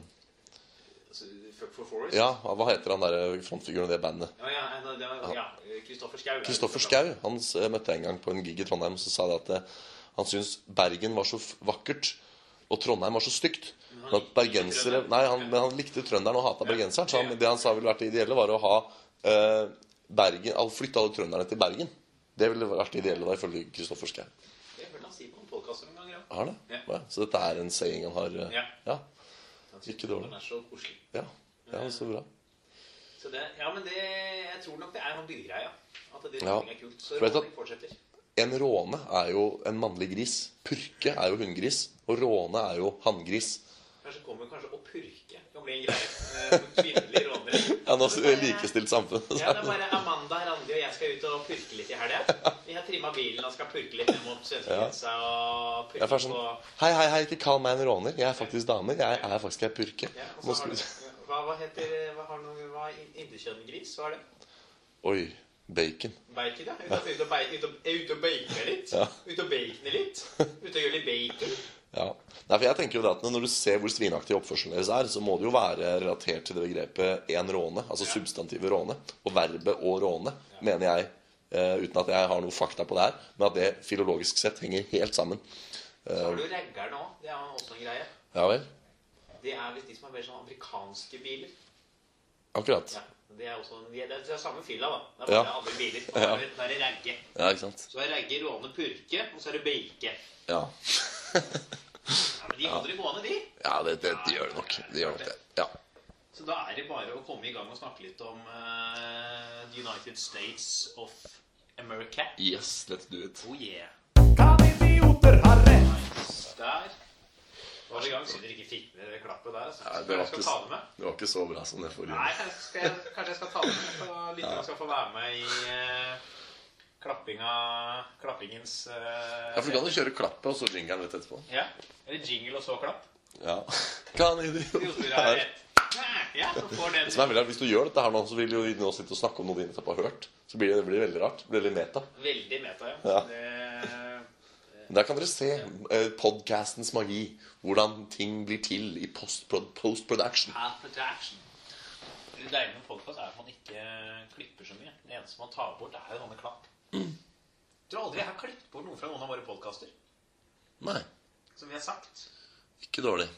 Altså, fuck for Forest.
Ja, hva heter han derre frontfiguren i det bandet?
Ja, ja, nei, det var, ja. Kristoffer Schau.
Kristoffer Schau han s- eh, møtte jeg en gang på en gig i Trondheim. Så sa de at eh, han syntes Bergen var så f- vakkert, og Trondheim var så stygt. Men at bergensere, nei, han, men han likte trønderen og hata bergenseren. Så han, det han sa ville vært det ideelle, var å ha eh, Bergen, all, flytte alle trønderne til Bergen. Det ville vært det ideelle da, ifølge Kristoffer Schau.
Jeg hørte han si på noen podkaster noen ganger.
Har det?
Ja.
Ja, Så dette er en saying han har eh,
Ja.
Ja.
ja.
Ikke dårlig.
Han er så koselig.
Ja,
Eh.
ja så bra.
Så det, ja, men det, jeg tror nok det er han bygdegreia. At det
Ja.
er kult. Så
For sånn- vet du-
rådning fortsetter.
En råne er jo en mannlig gris. Purke er jo hunngris. Og råne er jo hanngris.
Kanskje kommer kanskje å purke. Det kan bli en greie. Eh, for Kvinnelige rånere.
Ja, nå er det likestilt samfunn.
Ja, det er bare Amanda, Randi og jeg skal ut og purke litt i helga. Vi har trimma bilen og skal purke litt ned mot svenskegrensa og
Jeg er
purke
først sånn
på
Hei, hei, hei, ikke kall meg en råner. Jeg er faktisk dame. Jeg er faktisk ei purke.
ja, og
Nå
så har
skal-
du, hva, hva heter Hva har du Hva er in- interkjønngris? Hva er det?
Oi, bacon.
Bacon, ja. Ut og, ut og, ba- ut og, eh, ut og bacone litt.
Ja.
Ut og bacone litt. Ut og gjøre litt bacon.
Ja. Nei, for jeg tenker jo det at Når du ser hvor svinaktig oppførselen deres er, så må det jo være relatert til det begrepet 'én råne', altså substantivet råne. Og verbet 'å råne', mener jeg, eh, uten at jeg har noe fakta på det her, men at det filologisk sett henger helt sammen.
Så har du raggeren òg. Det er også en greie.
Ja vel?
Det er visst de som er mer sånn amerikanske biler.
Akkurat.
Ja. Det er også de er, det er samme fylla, da. Det er
Ja.
bare andre biler. Og
Ja.
da er det- Da er det ragge.
Ja, ikke sant?
Så er ragge, råne, purke, og så er det bake.
Ja,
Ja, men de holder det gående, de.
ja det, det, de gjør det nok. De gjør nok det. Ja.
Så da er det bare å komme i gang og snakke litt om eh, The United States of America.
Yes, let's do it.
Oh yeah.
idioter har rett.
Der var det i gang. Synd dere ikke fikk med det klappet der. Altså.
Ja, det
Kanskje
var
jeg skal
ikke-
ta det med?
Det var ikke så bra som det forrige.
Nei, jeg skal, kanskje jeg skal ta det med, så lytterne skal få være med i eh, klappinga Klappingens eh,
Ja, for du kan jo kjøre klappet og så jingeren litt etterpå.
Ja. Eller jingle og så klapp.
Ja. Kan idioter
Idioter
ha
er
rett?
rett. Ja, så får den
Som er veldig rart, Hvis du gjør dette her nå, så vil jo de nå sitte og snakke om noe de nettopp har hørt. Så blir det, det blir veldig rart. Det blir litt meta.
veldig meta, ja.
Ja.
Det,
Men der kan dere se eh, podcastens magi. Hvordan ting blir til i post- post-production.
er production. Det deilige med podcast er at man ikke klipper så mye. Det eneste man tar bort, er jo sånne klapp. Jeg tror aldri jeg har klippet bort noe fra noen av våre podkaster.
Nei,
Som vi har sagt.
ikke dårlig.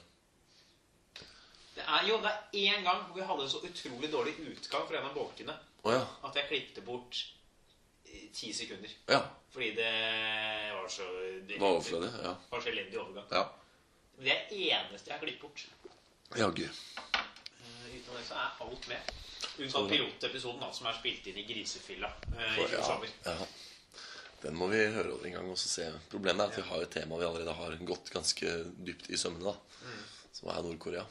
Det er jo det er én gang hvor vi hadde en så utrolig dårlig utgang fra en av bolkene
Å ja.
at jeg klippet bort eh, ti sekunder.
Ja.
Fordi det var så
Det var overflødig. Ja.
var så elendig overgang.
Ja.
Men det er det eneste jeg har klippet bort.
Jaggu.
Eh, Utenom det så er alt med. Unntatt pilotepisoden, da, som er spilt inn i grisefylla eh, i fjor
Ja.
sommer.
ja. Den må vi høre over en gang og så se. Problemet er at vi har et tema vi allerede har gått ganske dypt i sømmene, da.
Mm.
Som er Nord-Korea.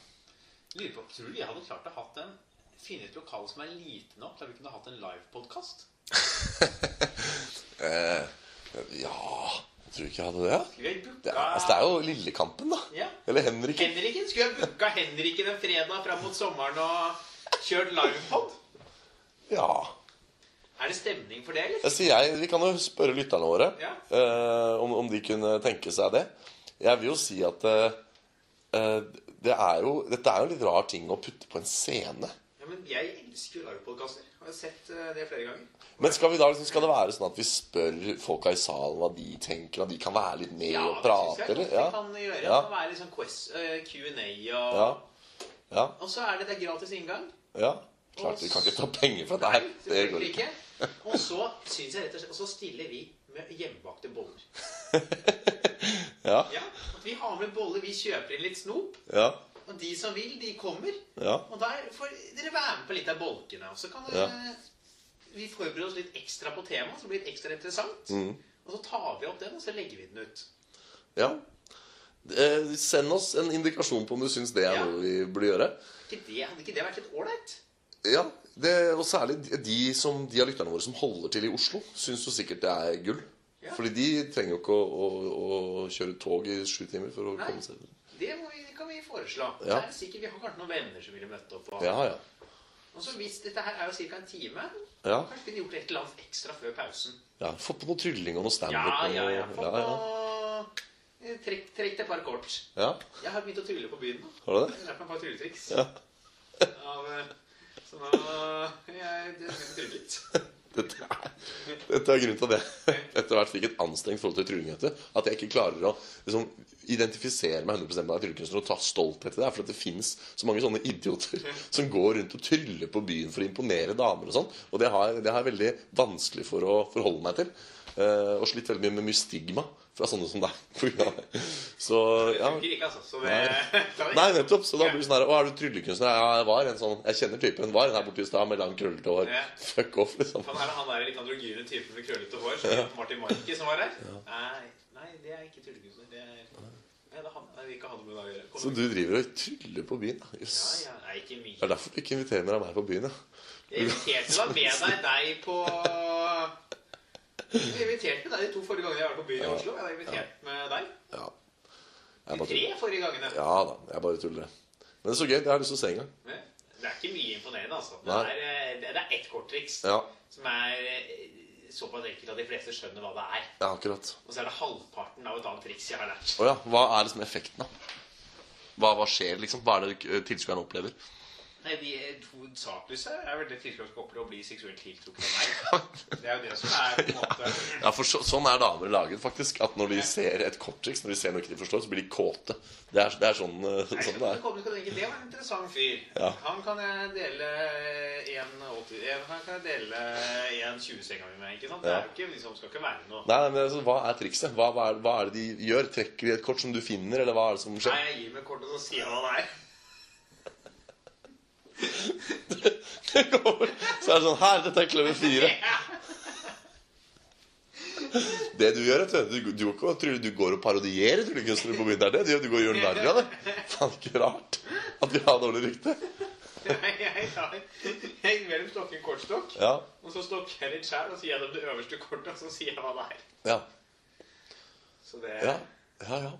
Lurer på, tror du vi hadde klart å hatt en finne et lokale som er lite nok til at vi kunne hatt en livepodkast?
Ja Tror du ikke jeg hadde det? ja?
Skulle vi
Det er,
booka
altså, det er jo Lillekampen, da.
Ja.
Eller Henriken.
Henriken? Skulle vi booka Henriken en fredag fram mot sommeren og kjørt livepod?
Ja.
Er det stemning for det, eller?
Jeg sier jeg, Vi kan jo spørre lytterne våre
Ja.
eh, om, om de kunne tenke seg det. Jeg vil jo si at eh, eh, det er jo, dette er jo en litt rar ting å putte på en scene.
Ja, men jeg elsker jo livepodkaster. Har jeg sett eh, det flere ganger.
Men skal, vi da, liksom, skal det være sånn at vi spør folka i salen hva de tenker, at de kan være litt med og prate,
det
eller?
syns jeg godt vi kan gjøre. Det
Ja.
kan være litt sånn quest- eh, Q&A og
Ja. ja.
Og så er det det er gratis inngang.
ja. Klart vi kan ikke ta penger for dette her. Det
selvfølgelig
går ikke.
Og så synes jeg rett og slett Og så stiller vi med hjemmebakte boller.
Ja.
Ja, at Vi har med boller, vi kjøper inn litt snop.
Ja.
Og de som vil, de kommer.
Ja.
Og der får dere være med på litt av bolkene. Og så kan
Ja.
eh, vi forberede oss litt ekstra på temaet, så det blir litt ekstra interessant.
Mm.
Og så tar vi opp den, og så legger vi den ut.
ja. Eh, send oss en indikasjon på om du syns det er
Ja.
noe vi burde gjøre.
Ikke det, hadde ikke det vært litt ålreit?
Ja, det, og særlig de- de, som, de av lytterne våre som holder til i Oslo, syns jo sikkert det er gull.
Ja.
Fordi de trenger jo ikke å, å, å kjøre tog i sju timer for å
Nei.
komme seg
Det, må vi, det kan vi foreslå. Så
Ja.
er det sikkert, Vi har kanskje noen venner som ville møtt opp. Og,
Ja, ja.
og så hvis dette her er jo ca. en time,
ja.
kanskje vi kunne gjort et eller annet ekstra før pausen.
ja. Få på noe trylling og noe standup.
Ja,
og
ja,
noe-
ja. Få
ja, ja.
på Trekk, trekk deg et par kort.
ja.
Jeg har begynt å trylle på byen nå.
Har du
Jeg
det?
har lært meg et par trylletriks.
Ja.
Av, eh, så nå eh, jeg, jeg skal trylle litt.
Dette er, dette er grunnen til at jeg etter hvert fikk et anstrengt forhold til trylling. vet du. At jeg ikke klarer å liksom, identifisere meg 100 med deg tryllekunstner og ta stolthet i det. er Fordi at det fins så mange sånne idioter som går rundt og tryller på byen for å imponere damer og sånn. Og det har, det har jeg veldig vanskelig for å forholde meg til. Eh, og slitt veldig mye med mye stigma fra sånne som deg. på grunn av det. Så ja.
Det funker ikke, altså. Så det,
Nei, nettopp. Så da blir det sånn her Å, er du tryllekunstner? Ja, jeg var en sånn. Jeg kjenner typen. Var en her borte i stad med lang, krøllete hår.
Ja.
Fuck off, liksom.
Han er han der litt androgyne typen med krøllete hår, som het Martin Marki, som var her. Nei, nei, det er ikke tryllekunstner. Det er Nei, det er han. Nei, vi ikke ha noe med det å gjøre. Kom
Så
igjen.
du driver og tryller på byen? da? Jøss.
Ja, ja. Nei, ikke mye.
Det er derfor du ikke inviterer mer av meg på byen, ja.
Jeg inviterte deg med deg deg på Jeg inviterte med deg de to forrige gangene jeg var på byen i Oslo. Jeg har invitert med deg
Ja, jeg
de
bare
tre
tuller.
forrige gangene.
ja da, jeg bare tuller. Men det er så gøy. Det har jeg lyst til å se en gang.
Det Det er ikke mye imponerende, altså. Det
Nei.
er, eh, det- det er ett korttriks
Ja.
som er eh, såpass enkelt at de fleste skjønner hva det er.
Ja, akkurat.
Og så er det halvparten av et annet triks jeg har lært.
Å ja. Hva er liksom effekten, da? Hva, hva skjer, liksom? Hva er det eh, tilskueren opplever?
Nei, de eh, to saklyse er vel det tilskuddet som opplever å bli seksuelt tiltrukket av meg. Det er jo det som er på en måte
Ja, for så, Sånn er damer laget, faktisk. At når de ser et korttriks, når de ser noe ikke de forstår, så blir de kåte. Det er, det er sånn, eh,
Nei,
sånn det
det
er.
kommer ikke til å tenke, det var en interessant fyr.
Ja.
Han kan jeg dele en 80 eh, Han kan jeg dele en 20-senga mi med. ikke sant? Det
Ja.
er jo ikke, liksom, skal ikke være noe.
Nei, nei, men altså, Hva er trikset? Hva, hva, er, hva er det de gjør? Trekker de et kort som du finner, eller hva er det som
Nei,
skjer?
jeg gir meg kortet, så sier jeg hva det er.
så er det sånn Her, dette er kløver fire. Det du gjør, vet du, du, du, går ikke og tror- du går og parodierer tryllekunstnere på byen. Det er det du gjør. Du går og gjør narr av det. Faen, ikke rart at vi har dårlig rykte.
Nei, Jeg tar jeg mellom stokken kortstokk,
Ja,
og så stokker jeg litt sjæl, og sier jeg dem det øverste kortet, og så sier jeg hva det er.
ja,
Så det
ja. ja, ja.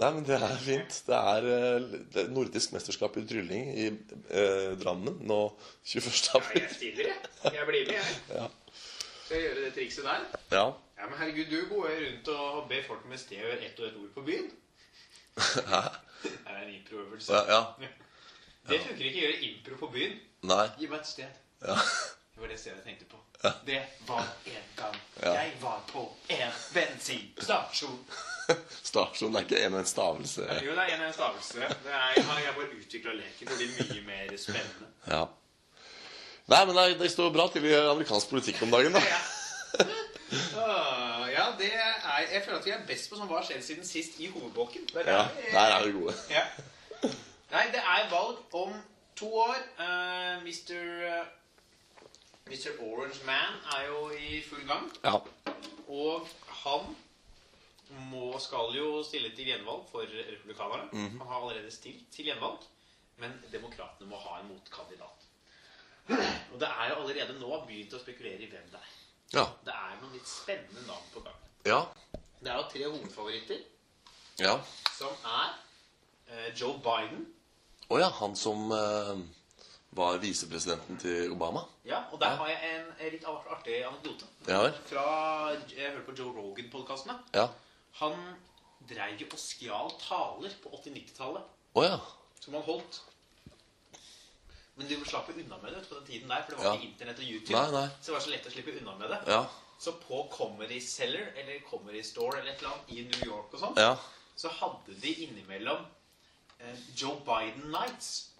Nei, men det er fint. Det er eh, det er nordisk mesterskap i trylling i eh, Drammen nå 21.
Nei,
april.
jeg stiller, jeg. Jeg blir med, jeg.
Ja.
Skal jeg gjøre det trikset der?
Ja.
Ja, men herregud, du går jo rundt og ber folk med sted gjøre ett og ett ord på byen.
Hæ?
Det er en improøvelse.
Ja, ja.
Det funker ikke å gjøre impro på byen.
Nei.
Gi meg et sted.
Ja.
Det var det stedet jeg tenkte på. Det var en gang
Ja.
jeg var på en bensinstasjon.
Stavsjon er ikke en med en stavelse.
Jo, det er en av en stavelse. Det er, jeg har- jeg bare utvikla leken til å bli mye mer spennende.
Ja. Nei, men det, det står bra til i amerikansk politikk om dagen, da.
Ja. Åh, ja, det er Jeg føler at vi er best på sånn hva har skjedd siden sist i hovedbolken. Der er
Ja,
vi-
Der er vi gode.
Ja. Nei, det er valg om to år. Eh, Mr. eh, Mr. Orange Man er jo i full gang.
Ja.
Og han må, skal jo stille til gjenvalg for republikanerne. Han har allerede stilt til gjenvalg. Men demokratene må ha en motkandidat. Og det er jo allerede nå begynt å spekulere i hvem det er.
Ja.
Det er noen litt spennende navn på gang.
Ja.
Det er jo tre hovedfavoritter,
ja.
som er eh, Joe Biden.
Å ja, han som eh, var visepresidenten til Obama?
Ja, og der har jeg en eh, litt artig anekdote.
Ja vel?
Fra, eh, Jeg hørte på Joe Rogan-podkastene.
Ja.
Han dreiv jo og skjal taler på 80-90-tallet
Å ja.
som han holdt. Men de slapp jo unna med det på den tiden der, for det var
Ja.
ikke Internett og YouTube.
Nei, nei.
Så det var så lett å slippe unna med det.
Ja.
Så på Comedy Cellar, eller Comedy Store, eller et eller annet i New York og sånn,
Ja.
så hadde de innimellom eh, Joe Biden Nights,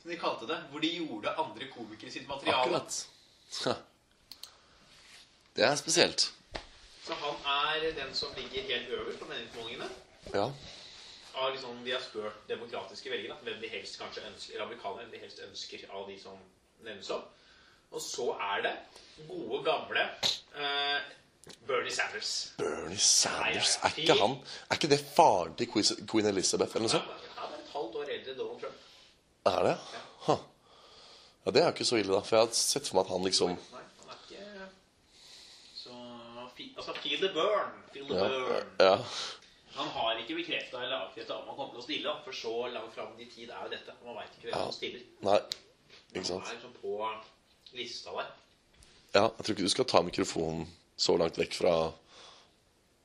som de kalte det. Hvor de gjorde andre komikere sitt materiale.
Akkurat. Ha. Det er spesielt.
Så han er den som ligger helt øverst på meningsmålingene.
Ja.
Av liksom, vi har spurt demokratiske velgere da, hvem de helst kanskje ønsker, eller amerikanere hvem de helst ønsker av de som nevnes opp. Og så er det gode, gamle eh, Bernie Sanders.
Bernie Sanders, er ikke han Er ikke det faren til Queen- Queen Elizabeth eller noe
Han
sånt?
er et halvt år eldre enn Donald Trump.
Er det? Ha. Ja, det er jo ikke så ille, da. For jeg har sett for meg at han liksom
Nei, han er ikke så fi- Altså, feel the burn. Feel the
Ja.
burn.
ja.
Han har ikke bekrefta eller avkrefta om han kommer til å stille. da, For så langt fram i tid er jo dette. Man veit ikke hvem
Ja.
som stiller.
Nei. Ikke
Han
sant.
er liksom på lista der.
Ja, jeg tror ikke du skal ta mikrofonen så langt vekk fra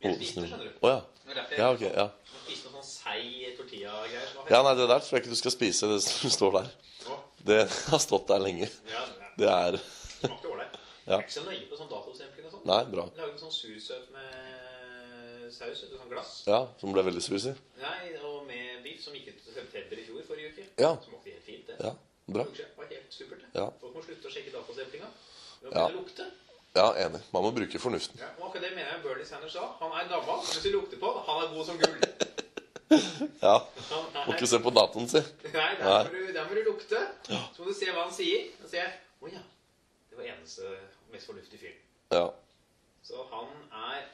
Jeg spiste, skjønner du.
Å ja.
Det var derfor jeg
Ja, ok. Ja.
spiste noen sånn seig tortilla-greier. som var
ja, nei, det der tror jeg ikke du skal spise, det som står der.
fett.
Det har stått der lenge.
Ja, det er-
Det er
det smakte ålreit. Jeg
Ja.
er ikke så nøye på sånn datosampling og sånn.
Nei, bra.
Jeg Lagde en sånn sursøt med saus vet du, sånn glass.
Ja, som ble veldig susi.
Nei, og med biff som gikk ut til september i fjor, forrige uke.
Ja.
Smakte helt fint, det.
Ja, bra.
Kanskje. Det var helt supert, det.
Ja.
Folk må slutte å sjekke datosamplinga. Det må
Ja.
begynne å lukte.
Ja, enig. Man må bruke fornuften.
Ja, og akkurat det mener jeg Bernie Sanders sa. Han er gammel. Hvis du lukter på han, han er god som gull.
Ja,
Han er-
Må ikke se på datoen, si.
Nei, der må, du, der må du lukte. Så må du se hva han sier. Og se Å ja. Det var eneste mest fornuftige fyren.
Ja.
Så han er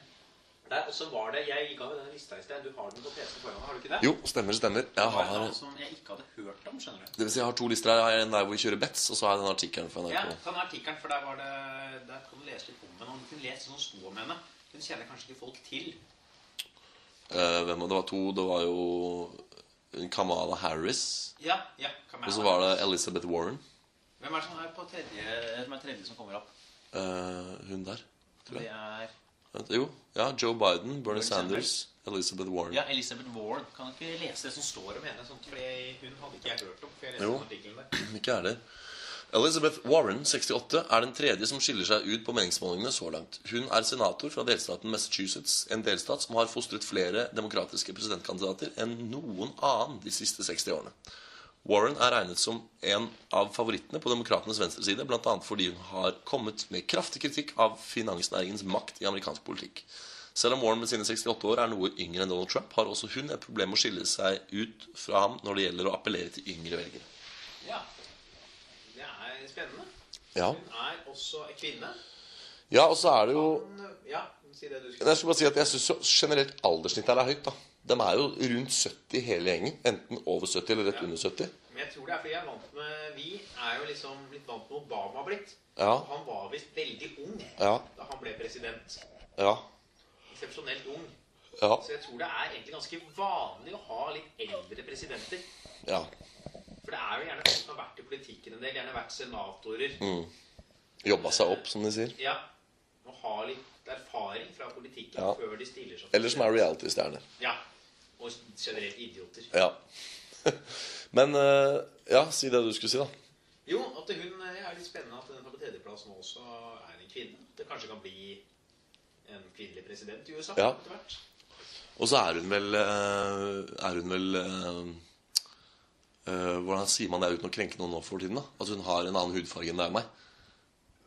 Der også var det Jeg ga jo denne lista i sted. Du har den på PC-en foran deg, har du ikke det?
Jo, stemmer, stemmer. Jeg
Det var
har,
et navn
det
som jeg ikke hadde hørt om, skjønner du.
vil si, jeg har to lister her. Jeg har en der hvor vi kjører bets, og så har jeg den artikkelen fra
Ja,
NRK.
ta den artikkelen, for der var det Der kan du lese litt om henne. Og du kunne lese sånn sto om henne. Hun kjenner kanskje ikke folk til.
Eh, hvem var det? Det var to Det var jo Kamala Harris.
Ja, ja, Kamala.
Og så var det Elizabeth Warren.
Hvem er det som er på tredje, som er tredje som kommer opp?
Eh, hun der. tror
Det
jeg.
er
Vent, Jo. Ja, Joe Biden, Bernie Sanders, Elizabeth Warren.
Ja, Elizabeth Warren. Kan du ikke lese det som står om henne? Sånn, fordi hun hadde ikke jeg hørt om. For jeg leste
Jo.
den artikkelen der.
Ikke er det. Elizabeth Warren, 68, er den tredje som skiller seg ut på meningsmålingene så langt. Hun er senator fra delstaten Massachusetts, en delstat som har fostret flere demokratiske presidentkandidater enn noen annen de siste 60 årene. Warren er regnet som en av favorittene på demokratenes venstreside, bl.a. fordi hun har kommet med kraftig kritikk av finansnæringens makt i amerikansk politikk. Selv om Warren med sine 68 år er noe yngre enn Donald Trump, har også hun et problem med å skille seg ut fra ham når det gjelder å appellere til yngre velgere.
Ja. Det er spennende.
Ja.
Hun er også en kvinne.
Ja, og så er det jo
Ja, si det du skulle
Jeg skulle bare si at jeg syns generelt alderssnittet her er høyt, da. De er jo rundt 70 hele gjengen. Enten over 70 eller rett
Ja.
under 70.
Men jeg tror det er fordi jeg er vant med Vi er jo liksom litt vant med Obama har blitt.
Ja.
Og Han var visst veldig ung
Ja.
da han ble president.
Ja.
Eksepsjonelt ung.
Ja.
Så jeg tror det er egentlig ganske vanlig å ha litt eldre presidenter.
ja.
For det er jo gjerne folk som har vært i politikken en del, gjerne vært senatorer.
Mm. Jobba seg opp, som de sier.
Ja. Og ha litt erfaring fra politikken
Ja.
før de stiller seg.
Eller som er reality-stjerner.
Ja. Og generelt idioter.
Ja. Men eh, Ja, si det du skulle si, da.
Jo, at hun det er litt spennende at den på tredjeplass nå også er en kvinne. Det kanskje kan bli en kvinnelig president i USA
Ja.
etter hvert.
Og så er hun vel eh, Er hun vel eh, eh, Hvordan sier man det uten å krenke noen nå for tiden? da? At hun har en annen hudfarge enn deg og meg?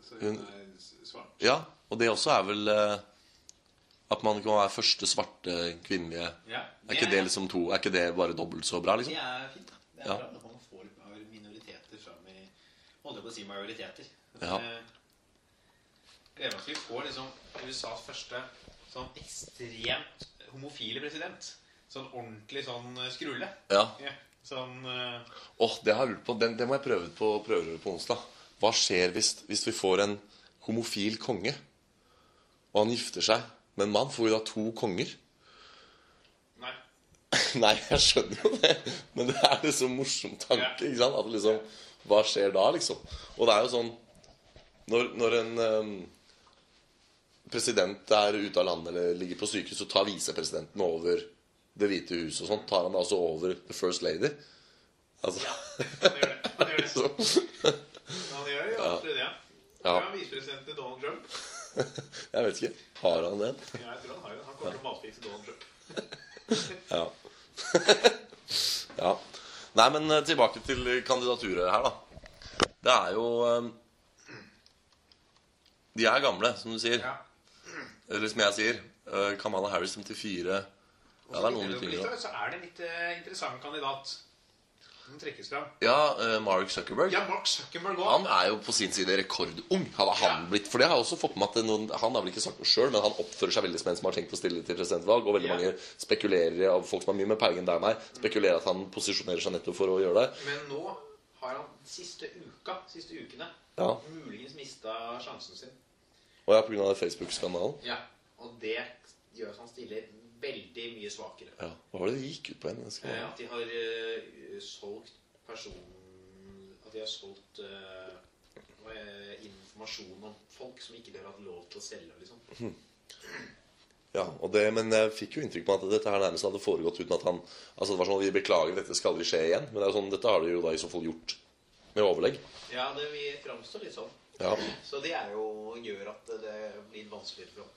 Så
Hun-
hun er s- svart.
Ja, og det også er vel eh, At man kan være første svarte kvinnelige
Ja.
Er ikke det liksom to, er ikke det bare dobbelt så bra, liksom?
Det er fint. da. Det er
Ja.
bra når man får litt mer minoriteter fram i Holdt jeg på å si majoriteter.
Ja.
Eh, Gleder meg til vi får liksom USAs første sånn ekstremt homofile president. Sånn ordentlig sånn eh, skrulle.
Ja.
Ja. Sånn eh,
Åh, det har jeg lurt på. Den, det må jeg prøve ut på prøverøret på onsdag. Hva skjer hvis, hvis vi får en homofil konge, og han gifter seg med en mann? Får vi da to konger?
Nei.
Nei, jeg skjønner jo det, men det er liksom en morsom tanke, ikke sant? At liksom, hva skjer da, liksom? Og det er jo sånn Når, når en eh, president er ute av landet eller ligger på sykehus, så tar visepresidenten over Det hvite huset og sånn. Tar han da også over the first lady? Altså,
Han gjør det. Han gjør det.
så,
Han gjør jo absolutt det.
Ja.
Ja. Visepresidenten til Donald Trump.
jeg vet ikke. Har han det?
Ja, jeg tror han har jo det. Han kommer til å matpise Donald Trump.
Ja. ja. Nei, men eh, tilbake til kandidaturet her, da. Det er jo eh, De er gamle, som du sier.
Ja.
Eller som jeg sier. eh, Kamala Harris 54 Ja, det er noen litt
På
yngre.
lista så er det en litt eh, interessant kandidat som trekkes fram.
da. Ja, eh, Mark Zuckerberg.
Ja, Mark Zuckerberg òg.
Han er jo på sin side rekordung. Hadde han
Ja.
blitt, for det har jeg også fått med meg at det er noen, Han har vel ikke sagt noe sjøl, men han oppfører seg veldig som en som har tenkt å stille til presidentvalg. Og veldig
Ja.
mange spekulerer i- av folk som har mye med peiling der meg, spekulerer at han posisjonerer seg nettopp for å gjøre det.
Men nå har han siste uka, siste ukene,
Ja,
muligens mista sjansen sin.
Og ja, pga. Facebook-skandalen.
Ja. Og det gjør at han stiller veldig mye svakere.
Ja. Hva var det de gikk ut på igjen? Jeg skal-
Eh, At de har eh, solgt person... At de har solgt eh, hva er- informasjon om folk som ikke de har hatt lov til å selge. liksom.
Ja, og det, Men jeg fikk jo inntrykk av at dette her nærmest hadde foregått uten at han Altså det var sånn, Vi beklager, dette skal aldri skje igjen. Men det er jo sånn, dette har de jo da i så fall gjort med overlegg.
Ja, det vi framstår litt sånn.
Ja,
Så det er jo, gjør at det blir vanskeligere for ham.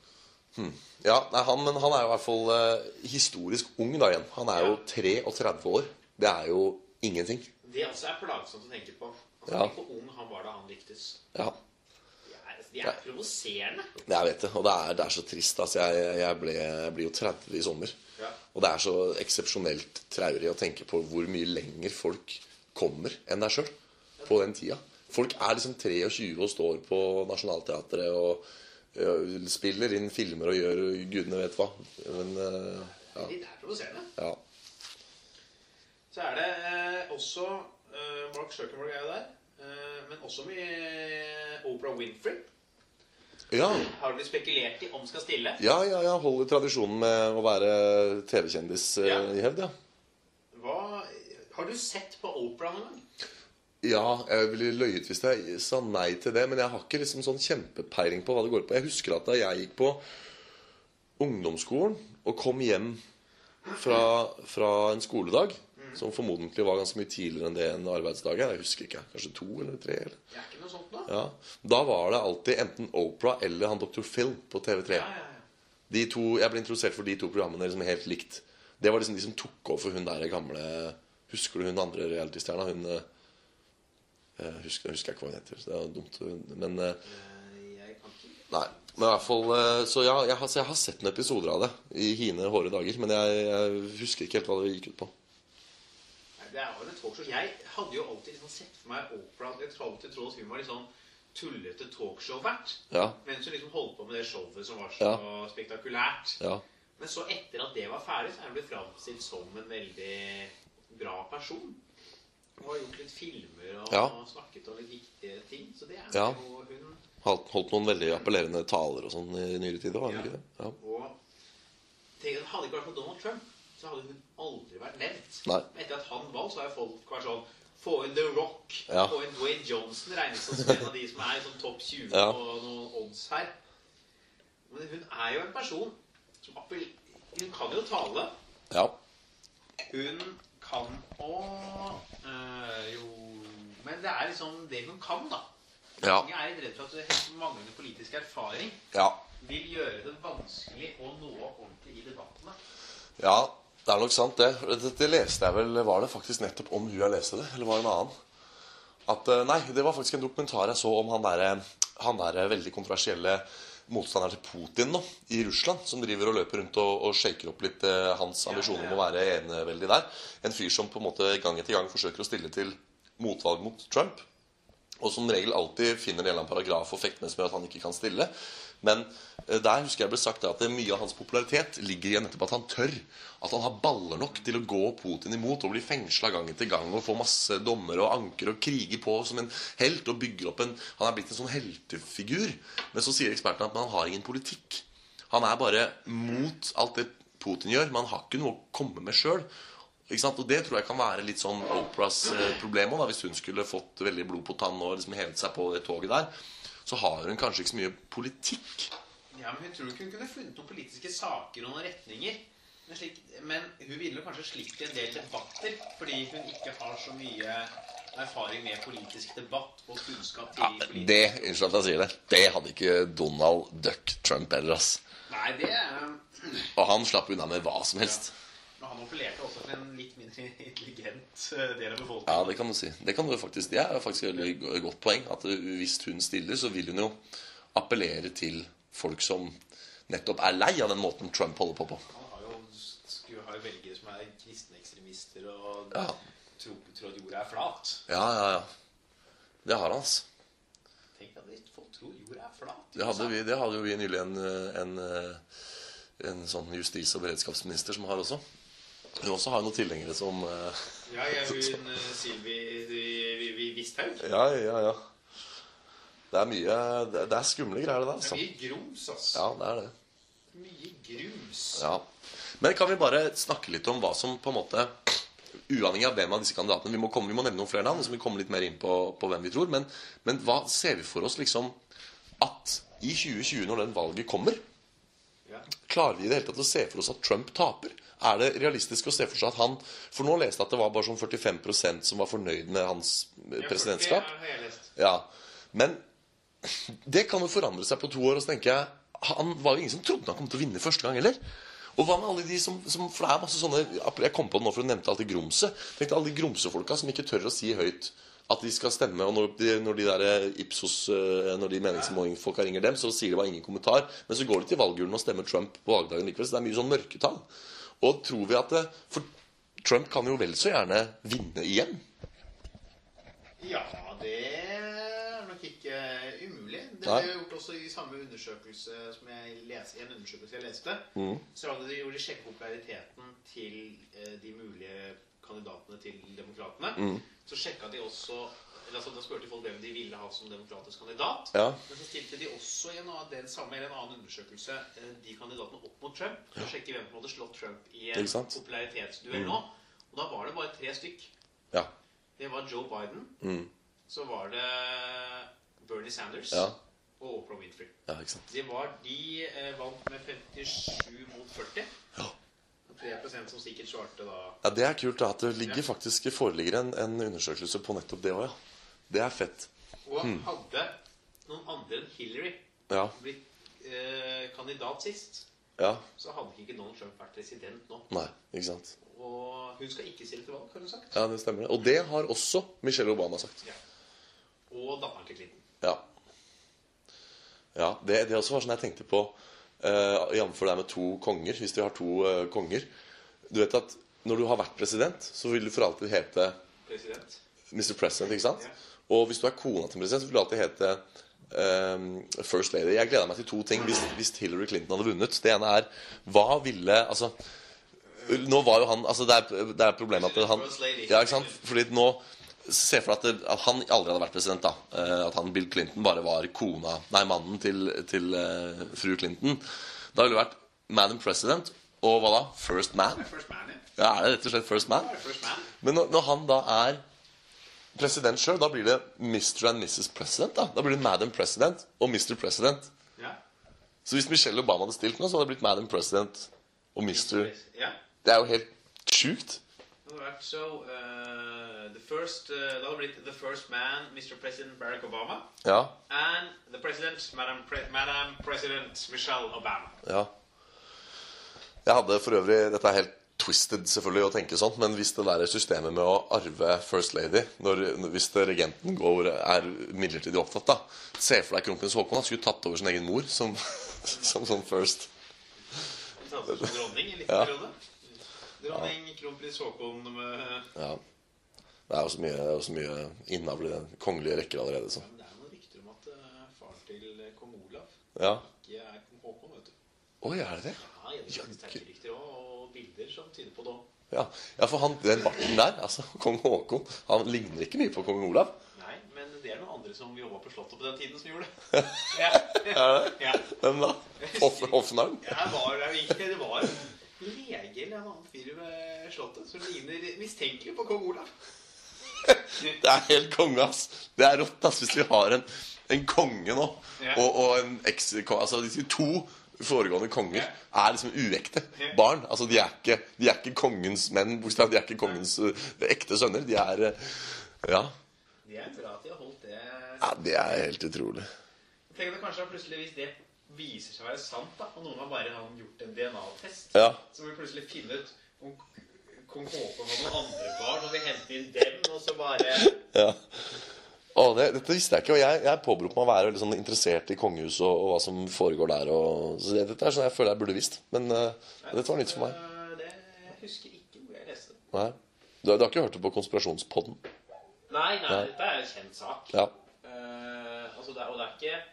ja nei, han, Men han er jo i hvert fall eh, historisk ung da igjen. Han er jo 33 år. Det er jo ingenting.
Det også er plagsomt å tenke på. Altså,
Ja.
Tenk hvor ung han var da han lyktes.
Ja,
De er, altså, de er provoserende.
Jeg vet det. Og det er, det er så trist. Altså, jeg, jeg, ble, jeg blir jo 30 i sommer.
Ja.
Og det er så eksepsjonelt traurig å tenke på hvor mye lenger folk kommer enn deg sjøl på den tida. Folk er liksom 23 og står på Nationaltheatret og ø, spiller inn filmer og gjør gudene vet hva. Men ø, ja.
De er provoserende.
ja.
Så er det eh, også eh, Mark Zuckerberg er jo der. Eh, men også mye Oprah Winfrey.
Ja,
Har det blitt spekulert i om skal stille.
ja, ja, ja. Holder tradisjonen med å være TV-kjendis ø,
Ja.
i hevd, ja.
Hva Har du sett på Opera noen gang?
Ja, jeg ville løyet hvis jeg sa nei til det, men jeg har ikke liksom sånn kjempepeiling på hva det går på. Jeg husker at da jeg gikk på ungdomsskolen og kom hjem fra, fra en skoledag, som formodentlig var ganske mye tidligere enn det en arbeidsdag er, jeg husker ikke, kanskje to eller tre eller
Det er ikke noe sånt nå.
ja. Da var det alltid enten Opera eller han Dr. Phil på TV3.
Ja, ja, ja.
De to, jeg ble introdusert for de to programmene liksom helt likt. Det var liksom de som tok over for hun der gamle Husker du hun andre realitystjerna? Hun eh, jeg husker, jeg husker ikke hva hun heter. Så det er dumt. Men eh,
Eh, Jeg kan ikke
nei. Men i hvert fall eh, Så ja, jeg har, så jeg har sett noen episoder av det i hine hårde dager. Men jeg, jeg husker ikke helt hva det gikk ut på.
Nei, Det er vel et talkshow. Jeg hadde jo alltid liksom sett for meg Opera Jeg hadde alltid trodd at hun var litt sånn tullete talkshow-vert.
Ja.
Mens hun liksom holdt på med det showet som var så
Ja.
spektakulært.
Ja.
Men så etter at det var ferdig, så er hun blitt framstilt som en veldig bra person. Hun har gjort litt filmer og,
Ja.
og snakket om litt viktige ting. Så det er
Ja.
jo hun.
Holdt, holdt noen veldig appellerende taler og sånn i nyere tid. Var det ikke det? Ja.
Og tenk, at hadde det ikke vært for Donald Trump, så hadde hun aldri vært nevnt.
Nei.
Men Etter at han vant, så har jo folk vært sånn Få inn The Rock,
Ja.
få inn Dwayne Johnson, regnes som en av de som er i sånn topp 20
Ja.
på noen odds her. Men hun er jo en person som appell... Hun kan jo tale.
ja.
Hun kan å øh, Jo Men det er liksom det hun kan, da.
Ja.
Mange er litt redd for at hun manglende politisk erfaring
ja.
vil gjøre det vanskelig å nå opp ordentlig i debattene.
Ja, det er nok sant det. Dette leste jeg vel Var det faktisk nettopp om hun jeg leste det, eller var det en annen? At, eh, nei, det var faktisk en dokumentar jeg så om han derre han der veldig kontroversielle motstanderen til Putin nå, i Russland, som driver og løper rundt og, og shaker opp litt eh, hans ambisjoner om å være eneveldig der. En fyr som på en måte gang etter gang forsøker å stille til motvalg mot Trump. Og som regel alltid finner en eller annen paragraf å fekte med som gjør at han ikke kan stille. Men eh, der husker jeg ble sagt da at mye av hans popularitet ligger i nettopp at han tør. At han har baller nok til å gå Putin imot og bli fengsla gang etter gang og få masse dommer og anker og kriger på som en helt og bygger opp en Han er blitt en sånn heltefigur. Men så sier ekspertene at men han har ingen politikk. Han er bare mot alt det Putin gjør, men han har ikke noe å komme med sjøl. Og det tror jeg kan være litt sånn Oprahs eh, problem også, da, hvis hun skulle fått veldig blod på tann og liksom hevet seg på det toget der. Så har hun kanskje ikke så mye politikk.
Ja, men Hun tror ikke hun kunne funnet noen politiske saker og noen retninger. Men, slik, men hun ville kanskje slikt i en del debatter, fordi hun ikke har så mye erfaring med politisk debatt og kunnskap til politisk
det, Unnskyld at jeg sier det. Det hadde ikke Donald Duck Trump heller. ass.
Nei, det er um,
Og han slapp unna med hva som helst.
Men han appellerte også til en litt mindre intelligent eh, del av befolkningen.
Ja, det kan du si. Det, kan du faktisk, det er faktisk et veldig go- godt poeng. At hvis hun stiller, så vil hun jo appellere til folk som nettopp er lei av den måten Trump holder på på.
Han har jo, skulle ha jo velgere som er kristne ekstremister og
Ja,
tror, tror at jorda er flat.
ja, ja. ja. Det har han, altså.
Tenk at de- folk tror jorda er flat.
Det hadde, vi, det hadde jo vi nylig en, eh, en, eh, en sånn justis- og beredskapsminister som har også. Hun også har noen tilhengere som eh,
Ja, ja, hun eh, Sylvi vi- vi- vi- Visthaug.
Ja, ja, ja. Det er mye Det, det er skumle greier, det der.
Det er
Altså.
mye grums, ass.
Ja, det er det.
Mye grums.
Ja. Men kan vi bare snakke litt om hva som på en måte Uavhengig av hvem av disse kandidatene Vi må, komme, vi må nevne noen flere navn, så vi kommer litt mer inn på, på hvem vi tror. Men, men hva ser vi for oss liksom at i 2020, når den valget kommer
Ja.
Klarer vi i det hele tatt å se for oss at Trump taper? Er det realistisk å se for seg at han For nå leste jeg at det var bare sånn 45 som var fornøyd med hans eh, presidentskap.
Ja, 40 har jeg lest.
Ja, Men det kan jo forandre seg på to år. Og så tenker jeg, Han var jo ingen som trodde han kom til å vinne første gang heller. Og hva med alle de som, som For det er masse sånne Jeg kom på det nå, for du nevnte alltid Grumse. Tenk deg alle de Grumse-folka som ikke tør å si høyt at de skal stemme. Og når de, når de der eh, Ipsos eh, Når de meningsmålingsfolka ringer dem, så sier de bare ingen kommentar. Men så går de til valgurnen og stemmer Trump på valgdagen likevel. Så det er mye sånn mørketall. Og tror vi at det, For Trump kan jo vel så gjerne vinne igjen.
Ja, det er nok ikke umulig. Det
Nei.
ble gjort også i samme undersøkelse som jeg leste, i en undersøkelse jeg leste.
Mm.
Så hadde de gjorde de sjekket populariteten til eh, de mulige kandidatene til demokratene.
Mm.
Så sjekka de også eller altså Da spurte de folk hvem de ville ha som demokratisk kandidat.
Ja.
Men så stilte de også i en annen, den samme eller en annen undersøkelse eh, de kandidatene opp mot Trump. For å sjekke hvem som hadde slått Trump i en
Ikke sant? Mm.
popularitetsduell nå. Og da var det bare tre stykk
Ja. Mm.
Det var Joe Biden. Så var det eh, Bernie Sanders
Ja.
og Oprah Winfrey.
ja, ikke sant.
De, var, de eh, vant med 57 mot 40.
Ja.
3 som sikkert svarte da
Ja, Det er kult da, at det ligger faktisk foreligger en, en undersøkelse på nettopp det òg, ja. Det er fett.
Og
Mm.
hadde noen andre enn Hillary
Ja.
blitt eh, kandidat sist,
ja.
så hadde ikke Donald Trump vært president nå.
Nei, ikke sant.
Og hun skal ikke stille til valg, har hun sagt.
Ja, det stemmer. det. Og det har også Michelle Obama sagt.
Ja. Og datteren til Clinton.
Ja. ja det, det også var sånn jeg tenkte på uh, Jf. det her med to konger. Hvis vi har to eh, konger Du vet at når du har vært president, så vil du for alltid hete
President.
Mr. President, ikke sant?
Ja.
Og hvis du er kona til en president, så vil du alltid hete eh, First Lady. Jeg gleder meg til to ting hvis, hvis Hillary Clinton hadde vunnet. Det ene er Hva ville Altså nå var jo han, altså det er, det er problemet at han
First lady.
Ja, ikke sant? Fordi nå Se for deg at, det, at han aldri hadde vært president. da Eh, At han Bill Clinton bare var kona Nei, mannen til, til eh, fru Clinton. Da ville det vært Madam President og hva da? First Man?
First man, ja.
Ja, Er det rett og slett First Man?
First man.
Men når, når han da er president sjøl, da blir det Mr. and Mrs. President. Da Da blir det Madam President og Mr. President.
Ja.
Så hvis Michelle Obama hadde stilt nå, så hadde det blitt Madam President og Mr.
ja.
Det er jo helt sjukt.
Det hadde vært så eh, the first, eh, Det hadde blitt The First Man, Mr. President Barack Obama.
Ja.
And The President, Madam, Pre Madam President Michelle Obama.
ja. Jeg hadde for øvrig Dette er helt twisted selvfølgelig å tenke sånn, men hvis det der systemet med å arve First Lady når, Hvis det regenten går, er midlertidig opptatt, da Se for deg kronprins Haakon. Han skulle tatt over sin egen mor som, som sånn First.
Hun satte seg som altså dronning i en liten
Ja.
periode. Dronning kronprins Haakon eh, med
Ja. Det er jo så mye, det er jo så mye innavl i den kongelige rekker allerede. Så.
Men Det er noen rykter om at eh, faren til eh, kong Olav
Ja.
ikke er kong Haakon, vet du.
Oi, er det det?
Ja, jeg vet ikke, sterke rykter også, og bilder som tyder på det òg.
Ja, ja for han, den barten der, altså kong Haakon, han ligner ikke mye på kong Olav.
Nei, men det er noen andre som jobba på Slottet på den tiden, som gjorde det. Ja.
Er det?
Ja.
Hvem da? Hoff, Hoffnarr?
Jeg var der ikke. Det var en lege eller en annen fyr ved Slottet som ligner mistenkelig på kong Olav.
Det er helt konge, ass. Det er rått, ass, hvis vi har en, en konge nå,
Ja.
og, og en eks... Altså, de to foregående konger er liksom uekte
Ja.
barn. Altså, de er ikke, de er ikke kongens menn, bokstavelig. De er ikke kongens eh, ekte sønner. De er eh, Ja.
Det er bra at de har holdt det.
ja. Det er helt utrolig.
Tenk om det kanskje er plutselig, hvis det viser seg å være sant, da, og noen har bare har gjort en DNA-test,
Ja.
så må vi plutselig finne ut om kong Haakon har noen andre barn, og vi henter inn dem, og så bare
Ja. Å, det, dette visste jeg ikke, og jeg, jeg påberoper meg å være veldig sånn interessert i kongehuset og, og hva som foregår der. Og, så det, dette er sånn jeg føler jeg burde visst, men eh, dette var nytt for meg.
Eh, Det jeg husker ikke hvor jeg leste det.
Nei. Du, du har ikke hørt det på Konspirasjonspodden?
Nei, nei,
Nei.
dette er en kjent sak.
Ja.
Eh, altså det, er- og det er ikke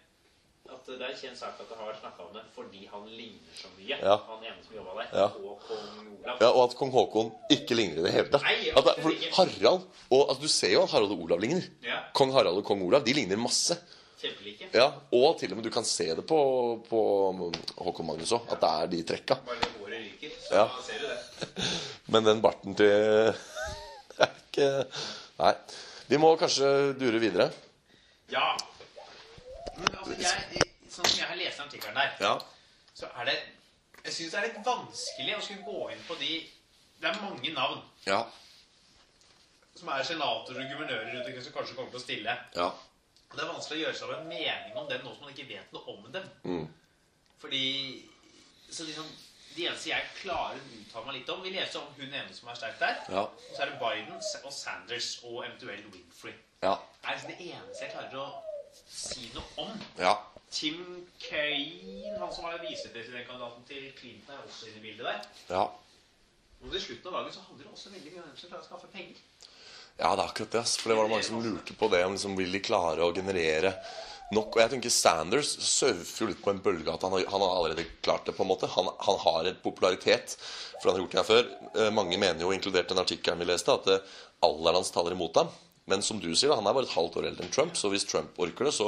at det er en kjent sak at jeg har snakka om det fordi han ligner så mye.
Ja.
Han ene som jobba der.
Ja.
Og kong Olav.
ja. Og at kong Haakon ikke ligner i det hele tatt.
Nei,
At det,
absolutt
for
ikke.
Harald og altså, Du ser jo at Harald og Olav ligner.
Ja.
Kong Harald og kong Olav de ligner masse.
Kjempelike.
Ja, Og til og med du kan se det på, på Håkon Magnus òg, at det er de trekka.
Bare det håret ryker, så
Ja.
ser du det.
Men den barten til Det er ikke Nei. Vi må kanskje dure videre.
Ja. Men altså, jeg, sånn som jeg har lest den artikkelen der,
Ja.
så er det Jeg syns det er litt vanskelig å skulle gå inn på de Det er mange navn
Ja.
som er senatorer og guvernører rundt omkring som kanskje kommer til å stille.
Ja.
Og Det er vanskelig å gjøre seg opp en mening om dem nå som man ikke vet noe om dem.
Mm.
Fordi Så liksom De eneste jeg klarer å uttale meg litt om Vi leser om hun ene som er sterk der.
Ja.
Og så er det Biden Sa- og Sanders og eventuelt Winfrey.
Ja.
Det er liksom det eneste jeg klarer å si noe om.
Ja.
Tim Kaine, han som var visepresidentkandidaten til Clinton, er også inne i bildet der.
Ja.
Og til slutten av dagen så handler det også veldig mye om hvem som klarer å skaffe penger.
Ja, det er akkurat det. ass. For det var det mange som lurte på det, om liksom, vil de klare å generere nok. Og jeg tenker Sanders surfer jo litt på en bølge at han har, han har allerede klart det, på en måte. Han, han har en popularitet, for han har gjort det her før. Eh, mange mener jo, inkludert den artikkelen vi leste, at eh, alderen hans taler imot ham. Men som du sier, da, han er bare et halvt år eldre enn Trump, så hvis Trump orker det, så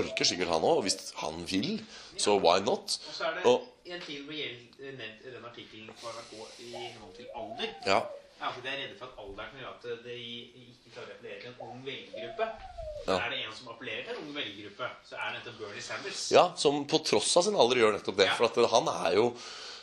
orker sikkert han òg. Og hvis han vil, så why not?
Og så er det
Og,
i en tid hvor det gjelder nevnt i den artikkelen på NRK i henhold til alder,
Ja.
er at de er redde for at alderen kan gjøre at de ikke klarer å appellere til en ung velgergruppe.
Ja.
Er det en som appellerer til en ung velgergruppe, så er det nettopp Bernie Sanders.
ja, som på tross av sin alder gjør nettopp det.
Ja.
For at eh, han er jo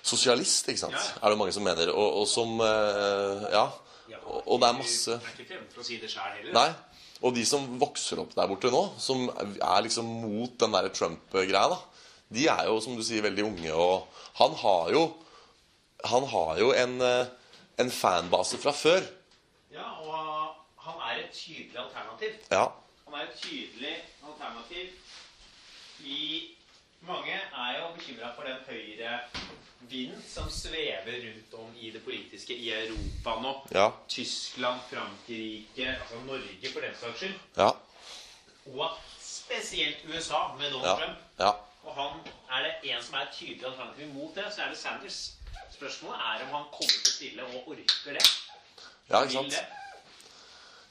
sosialist, ikke sant?
Ja, ja.
Er det mange som mener. Og, og som eh, Ja.
Ja,
Og, og det er masse
Jeg er ikke fremmed for å si det sjøl heller.
Nei. Og de som vokser opp der borte nå, som er liksom mot den der Trump-greia, da, de er jo, som du sier, veldig unge. Og han har jo, han har jo en, eh, en fanbase fra før.
Ja, og han er et tydelig alternativ.
Ja.
Han er et tydelig alternativ i Mange er jo bekymra for den høyre vind som svever rundt om i det politiske i Europa nå.
Ja.
Tyskland, Frankrike, altså Norge for den saks skyld.
Ja.
Og spesielt USA med
Ja.
Donald Trump.
ja.
Og han, er det en som er et tydelig alternativ mot det, så er det Sanders. Spørsmålet er om han kommer til å stille og orker det.
Ja,
Vil
ikke sant?
det.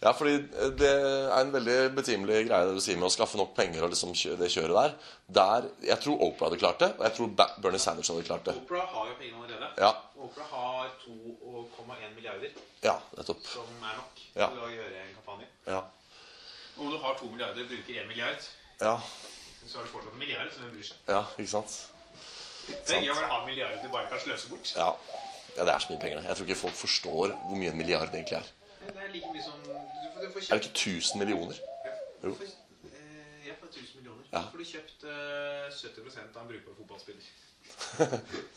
Ja, fordi eh, det er en veldig betimelig greie det du sier med å skaffe nok penger og liksom kjø- det kjøret der. der. Jeg tror Oprah hadde klart det, og jeg tror Ba- Bernie Sanders hadde klart det.
Opera har jo pengene allerede.
Ja.
Opera har 2,1 milliarder,
Ja, nettopp.
som er nok
Ja.
til å gjøre en kampanje.
Ja.
Om du har 2 milliarder og bruker 1 milliard,
Ja.
så er det fortsatt en milliard som hvem bryr seg.
ja ikke sant?
Det er gøy å bare ha milliarder du bare kan sløse bort.
Ja. ja, det er så mye penger. det. Jeg tror ikke folk forstår hvor mye en milliard egentlig er.
Det er like mye som Du får, du får
Er det
kjøpt
ikke 1000 millioner?
du
Jo.
får, eh, Jeg får 1000 millioner.
Ja.
Så får du kjøpt eh, 70 av en brukbar fotballspiller.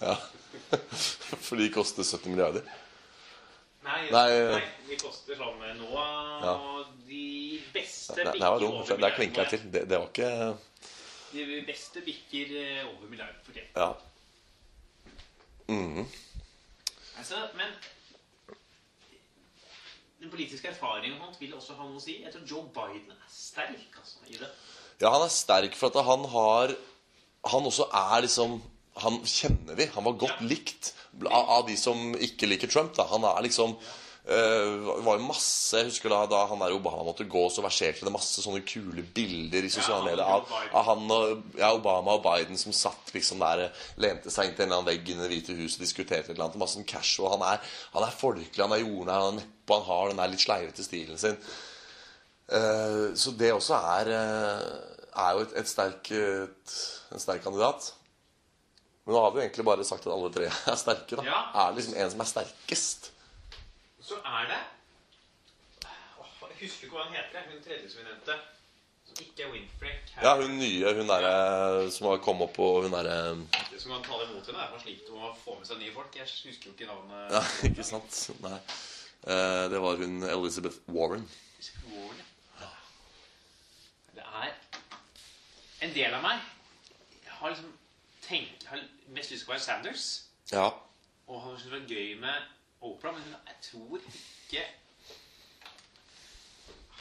Ja. For de koster 70 milliarder.
Nei,
Nei,
nei,
eh,
de koster sånn eh, nå
Ja.
De beste
Det, det
bikker
var
over
dumt. Der klinka jeg
milliarden.
til. Det, det var ikke
De beste bikker eh, over milliarden for det.
Ja.
Altså, men den politiske erfaringen hans vil også ha noe å si. Jeg tror Joe Biden er sterk altså, i det.
Ja, han er sterk for at han har Han også er liksom Han kjenner vi. Han var godt
Ja.
likt av, av de som ikke liker Trump. da Han er liksom eh, var jo masse, jeg husker da, da han der Obama måtte gå, så verserte det masse sånne kule bilder i sosiale
han og
medier av,
Biden.
av han og ja, Obama og Biden som satt liksom der, eh, lente seg inntil en eller annen vegg i Det hvite huset og diskuterte et eller annet. Masse sånn casual. Han er, han er folkelig, han er jordnær, han er neppe, han har den der litt sleivete stilen sin. Eh, så det også er, eh, er jo et, et sterk, et, en sterk kandidat. Men nå har vi jo egentlig bare sagt at alle tre er sterke. da
Ja.
Er det liksom en som er sterkest?
Så er det Åh, Jeg husker ikke hva hun heter. jeg. Hun tredje som vi nevnte. Som ikke er Winfrey.
Ja, hun nye, hun derre som har kommet opp, og hun derre
Det som kan tale imot henne, er at man sliter med å få med seg nye folk. Jeg husker jo ikke navnet.
Ja, ikke sant? Nei. Eh, det var hun Elizabeth Warren.
Warren. Det er En del av meg har liksom tenkt Har mest lyst til å være Sanders.
Ja.
Og han syntes det var gøy med Oprah, men jeg tror ikke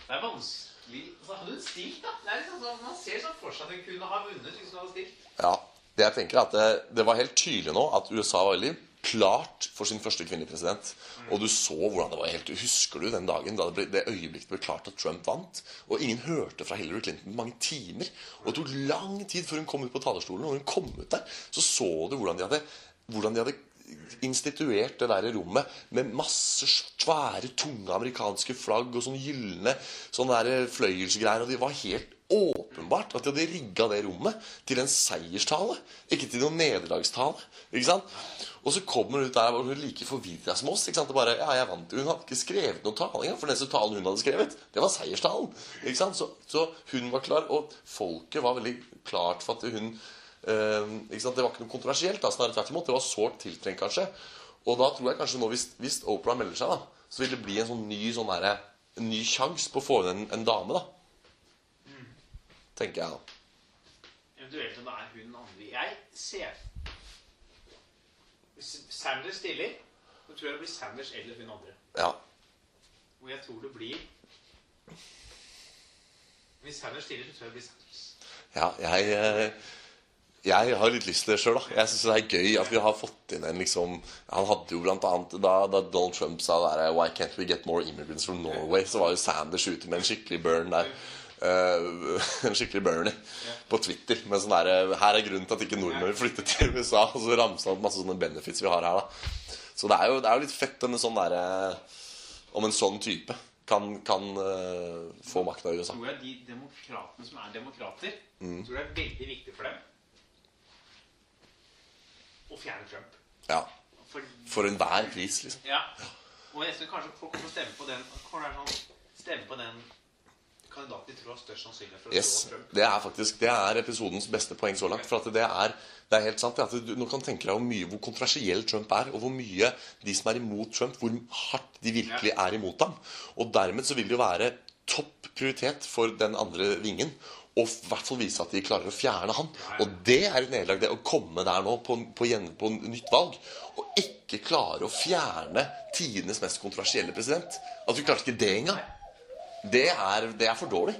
Det er vanskelig altså, Hadde hun stilt, da? Det er liksom sånn, Man ser sånn for seg at hun kunne ha vunnet hvis hun hadde stilt.
ja. Det jeg tenker er at det, det var helt tydelig nå at USA var veldig klart for sin første kvinnelige president. Og du så hvordan det var helt Husker du den dagen da det, ble, det øyeblikket det ble klart at Trump vant? Og ingen hørte fra Hillary Clinton på mange timer. Og det tok lang tid før hun kom ut på talerstolen. Og når hun kom ut der, så så du hvordan de hadde, hvordan de hadde instituert det der rommet med masse svære, tunge amerikanske flagg og sånn gylne sånne der fløyelsgreier. Og det var helt åpenbart at de hadde rigga det rommet til en seierstale, ikke til noen nederlagstale. ikke sant? Og så kommer hun ut der og hun er like forvirra som oss. ikke sant? Det bare, ja, jeg vant. Hun hadde ikke skrevet noen tale engang, for den eneste talen hun hadde skrevet, det var seierstalen. ikke sant? Så, så hun var klar, og folket var veldig klart for at hun Eh, ikke sant? Det var ikke noe kontroversielt. da, snarere tvert imot. Det var sårt tiltrengt, kanskje. Og da tror jeg kanskje nå, hvis, hvis Oprah melder seg, da, så vil det bli en sånn ny sånn derre- en ny sjanse på å få inn en, en dame, da. Tenker jeg, da.
Eventuelt om det er hun andre Jeg ser Hvis Sanders stiller, så tror jeg det blir Sanders eller hun andre.
Ja.
Og jeg tror det blir Hvis Sanders stiller, så tror jeg det blir Sanders.
ja jeg, eh, jeg har litt lyst til det sjøl, da. Jeg syns det er gøy at vi har fått inn en liksom Han hadde jo blant annet Da, da Donald Trump sa der, 'Why can't we get more immigrants from Norway', så var jo Sanders ute med en skikkelig burn der. eh, en skikkelig Bernie på Twitter med sånn der, eh, Her er grunnen til at ikke nordmenn vil flytte til USA. Og så ramsa han opp masse sånne benefits vi har her. da Så det er jo, det er jo litt fett denne sånn derre Om en sånn type kan, kan eh, få makta i USA.
Tror jeg de demokratene som er demokrater,
Mm.
tror det er veldig viktig for dem å fjerne Trump.
Ja.
For,
For enhver pris, liksom.
ja. Og jeg tror kanskje folk kommer til å stemme på den kommer det sånn, Stemme på den kandidaten de tror har størst sannsynlighet for å
Yes,
slå Trump.
Det er faktisk det er episodens beste poeng så langt. For at det er, det er helt sant det at du nå kan tenke deg hvor mye hvor kontroversiell Trump er, og hvor mye de som er imot Trump, hvor hardt de virkelig er imot ham. Og dermed så vil det jo være topp prioritet for den andre vingen. Og i hvert fall vise at de klarer å fjerne han. Og det er et nederlag, det. Å komme der nå på, på, gjen, på nytt valg og ikke klare å fjerne tidenes mest kontroversielle president. At du klarte ikke det engang. Det er, det er for dårlig.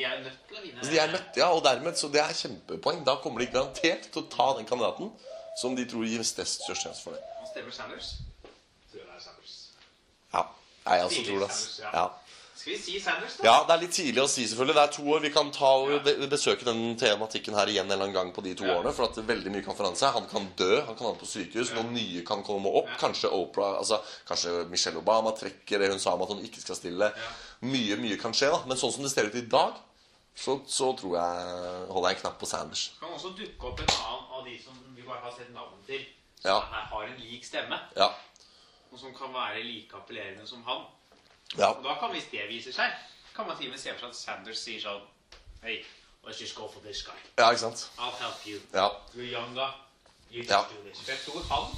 De er nødt til å vinne.
Så Altså, de er nødt, ja, og dermed, så det er kjempepoeng. Da kommer de garantert til å ta den kandidaten som de tror gir størst størst sjanse for det.
Han stemmer Sanders. Tror jeg det er Sanders.
Ja, jeg også tror det. ass. Ja.
Skal vi si Sanders, da?
ja, det er litt tidlig å si, selvfølgelig. Det er to år. Vi kan ta og be- besøke den tematikken her igjen en eller annen gang på de to årene. For at veldig mye kan forandre seg. Han kan dø, han kan havne på sykehus, noen nye kan komme opp. Kanskje Oprah, altså kanskje Michelle Obama trekker det hun sa om at hun ikke skal stille. Mye, mye kan skje, da. Men sånn som det ser ut i dag, så, så tror jeg holder jeg en knapp på Sanders.
Kan også dukke opp en annen av de som vi bare har sett navnet til. Som
Ja.
er- har en lik stemme,
Ja.
og som kan være like appellerende som han.
ja.
Og da kan, hvis det viser seg, kan man til og med se for seg at Sanders sier sånn Hey, let's just go for this guy.
Ja, ikke sant?
I'll help you.
Ja,
You're younger. You just
Ja.
do this. For jeg tror han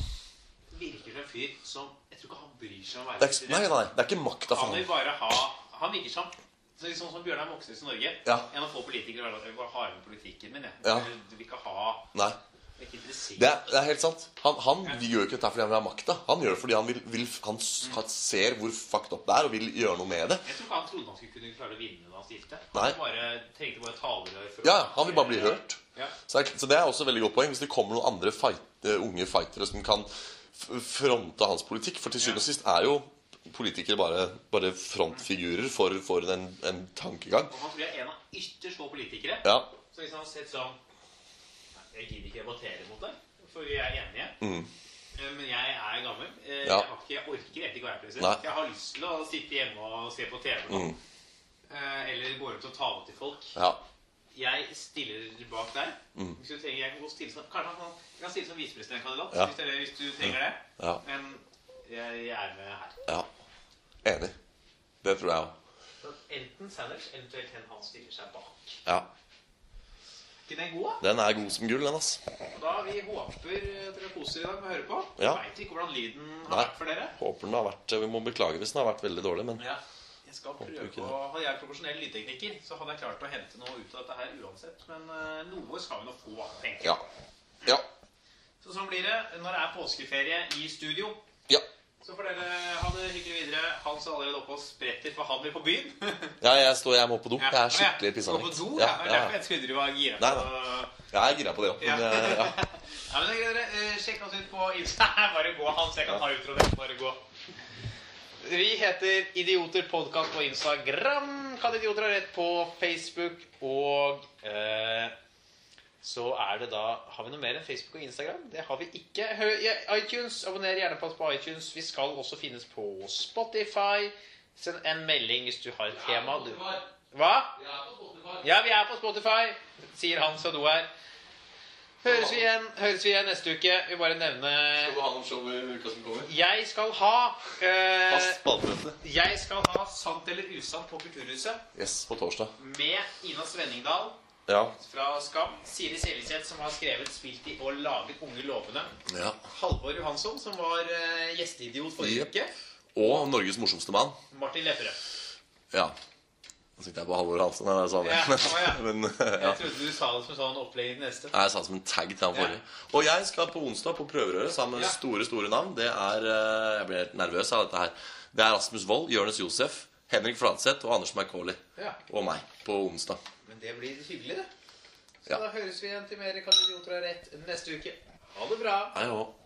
virker som en fyr som Jeg tror ikke han bryr seg om å
det
være
er, ikke- nei, nei, det er ikke makta for
Han vil
ham.
bare ha Han virker som så liksom som Bjørnar Moxnes i Norge.
Ja.
En av få politikere som vil bare ha med politikken min. Jeg.
Ja.
Du vil ikke ha
Nei,
du er ikke interessert.
det er, det er helt sant. Han, han gjør ikke dette fordi han vil ha makta. Han gjør det fordi han, vil, vil, han s- han ser hvor fucked up det er, og vil gjøre noe med det.
Jeg tror ikke han trodde han skulle kunne klare å vinne da han stilte.
Nei.
Han bare, trengte bare talerør før
Ja, han vil bare bli hørt.
Ja.
Så det er, så det er også et veldig godt poeng hvis det kommer noen andre fight, eh, unge fightere som kan f- fronte hans politikk. For til syvende og sist er jo politikere bare, bare frontfigurer for, for en, en tankegang.
Og han tror jeg er en av ytterst få politikere.
Ja,
Så hvis han har sett sånn «Nei, Jeg gidder ikke debattere mot deg, for vi er enige. Eh, Men jeg er gammel. Eh,
Mm. Ja.
Jeg, har ikke, jeg orker egentlig ikke å være
Nei. Mm.
president. Jeg har lyst til å sitte hjemme og se på TV. nå. Eh, Eller gå rundt og tale til folk.
ja,
Jeg stiller bak deg.
Mm.
Hvis du trenger, jeg kan godt stille som, kanskje han kan, jeg kan stille som visepresidentkandidat
Ja.
hvis, det- hvis du trenger det.
Ja.
Men jeg, jeg er med her.
ja. Enig. Det tror jeg òg.
Så Enten Sanders, eventuelt hen han stiller seg bak.
Ja.
Ikke den gode?
Den er god som gull, den, ass.
Da vi håper eh, dere koser i dag med å høre på.
Ja.
Veit ikke hvordan lyden har
Nei.
vært for dere.
Håper den har vært Vi må beklage hvis den har vært veldig dårlig, men
Ja. Jeg skal prøve
ikke det.
å, Hadde jeg vært profesjonell lydtekniker, så hadde jeg klart å hente noe ut av dette her uansett. Men eh, noe skal vi nå få, tenker jeg.
Ja. Ja.
Så sånn blir det når det er påskeferie i studio.
Ja.
Så får dere ha det hyggelig videre. Han som allerede oppe og spretter, for han vil på byen.
ja jeg står Jeg må på do. Jeg er skikkelig
pissa.
pissende.
Gå på do? Ja, det
Ja,
er
ja.
derfor jeg trodde du var gira.
Nei,
på-
Jeg er gira på det òg.
Ja.
Men eh, ja.
Ja, men det er greit, dere. Eh, Sjekk oss ut på Insta. Bare gå, Hans. Jeg kan ta utroen. Bare gå. Vi heter Idioter Podcast på Instagram. Kan Idioter ha rett på Facebook. Og eh, så er det da Har vi noe mer enn Facebook og Instagram? Det har vi ikke. Hø ja, iTunes. Abonner gjerne på oss på iTunes. Vi skal også finnes på Spotify. Send en melding hvis du har et tema. Du. Hva? Ja, vi er på Spotify, sier Hans og Do her. Høres vi igjen høres vi igjen neste uke. Vi bare nevne
ha noe show i uka som kommer?
Jeg skal ha eh,
Fast bademøte.
Jeg skal ha Sant eller usant på Kulturhuset
Yes, på torsdag.
med Ina Svenningdal
Ja.
fra Skam. Siri Seliseth, som har skrevet, spilt i og laget Unge lovende.
ja.
Halvor Johansson, som var eh, gjesteidiot forrige
Yep.
uke.
Og Norges morsomste mann.
Martin Lepperød.
Ja. Nå tenkte jeg på Halvor Hansen. Nei, det er
Ja, å,
det
ja.
samme. Men eh, ja.
Jeg trodde du sa det som sånn opplegg i den neste.
Nei, Jeg sa det som en tag til han forrige. Og jeg skal på onsdag på prøverøret sammen med
Ja.
store store navn. Det er eh, Jeg blir helt nervøs av dette her. Det er Rasmus Wold, Jonis Josef, Henrik Fladseth og Anders Mercoli.
Ja.
Og meg på onsdag.
Men det blir hyggelig, det. Så
Ja.
da høres vi igjen til mer Kan idioter ha rett neste uke. Ha det bra.
Hei, og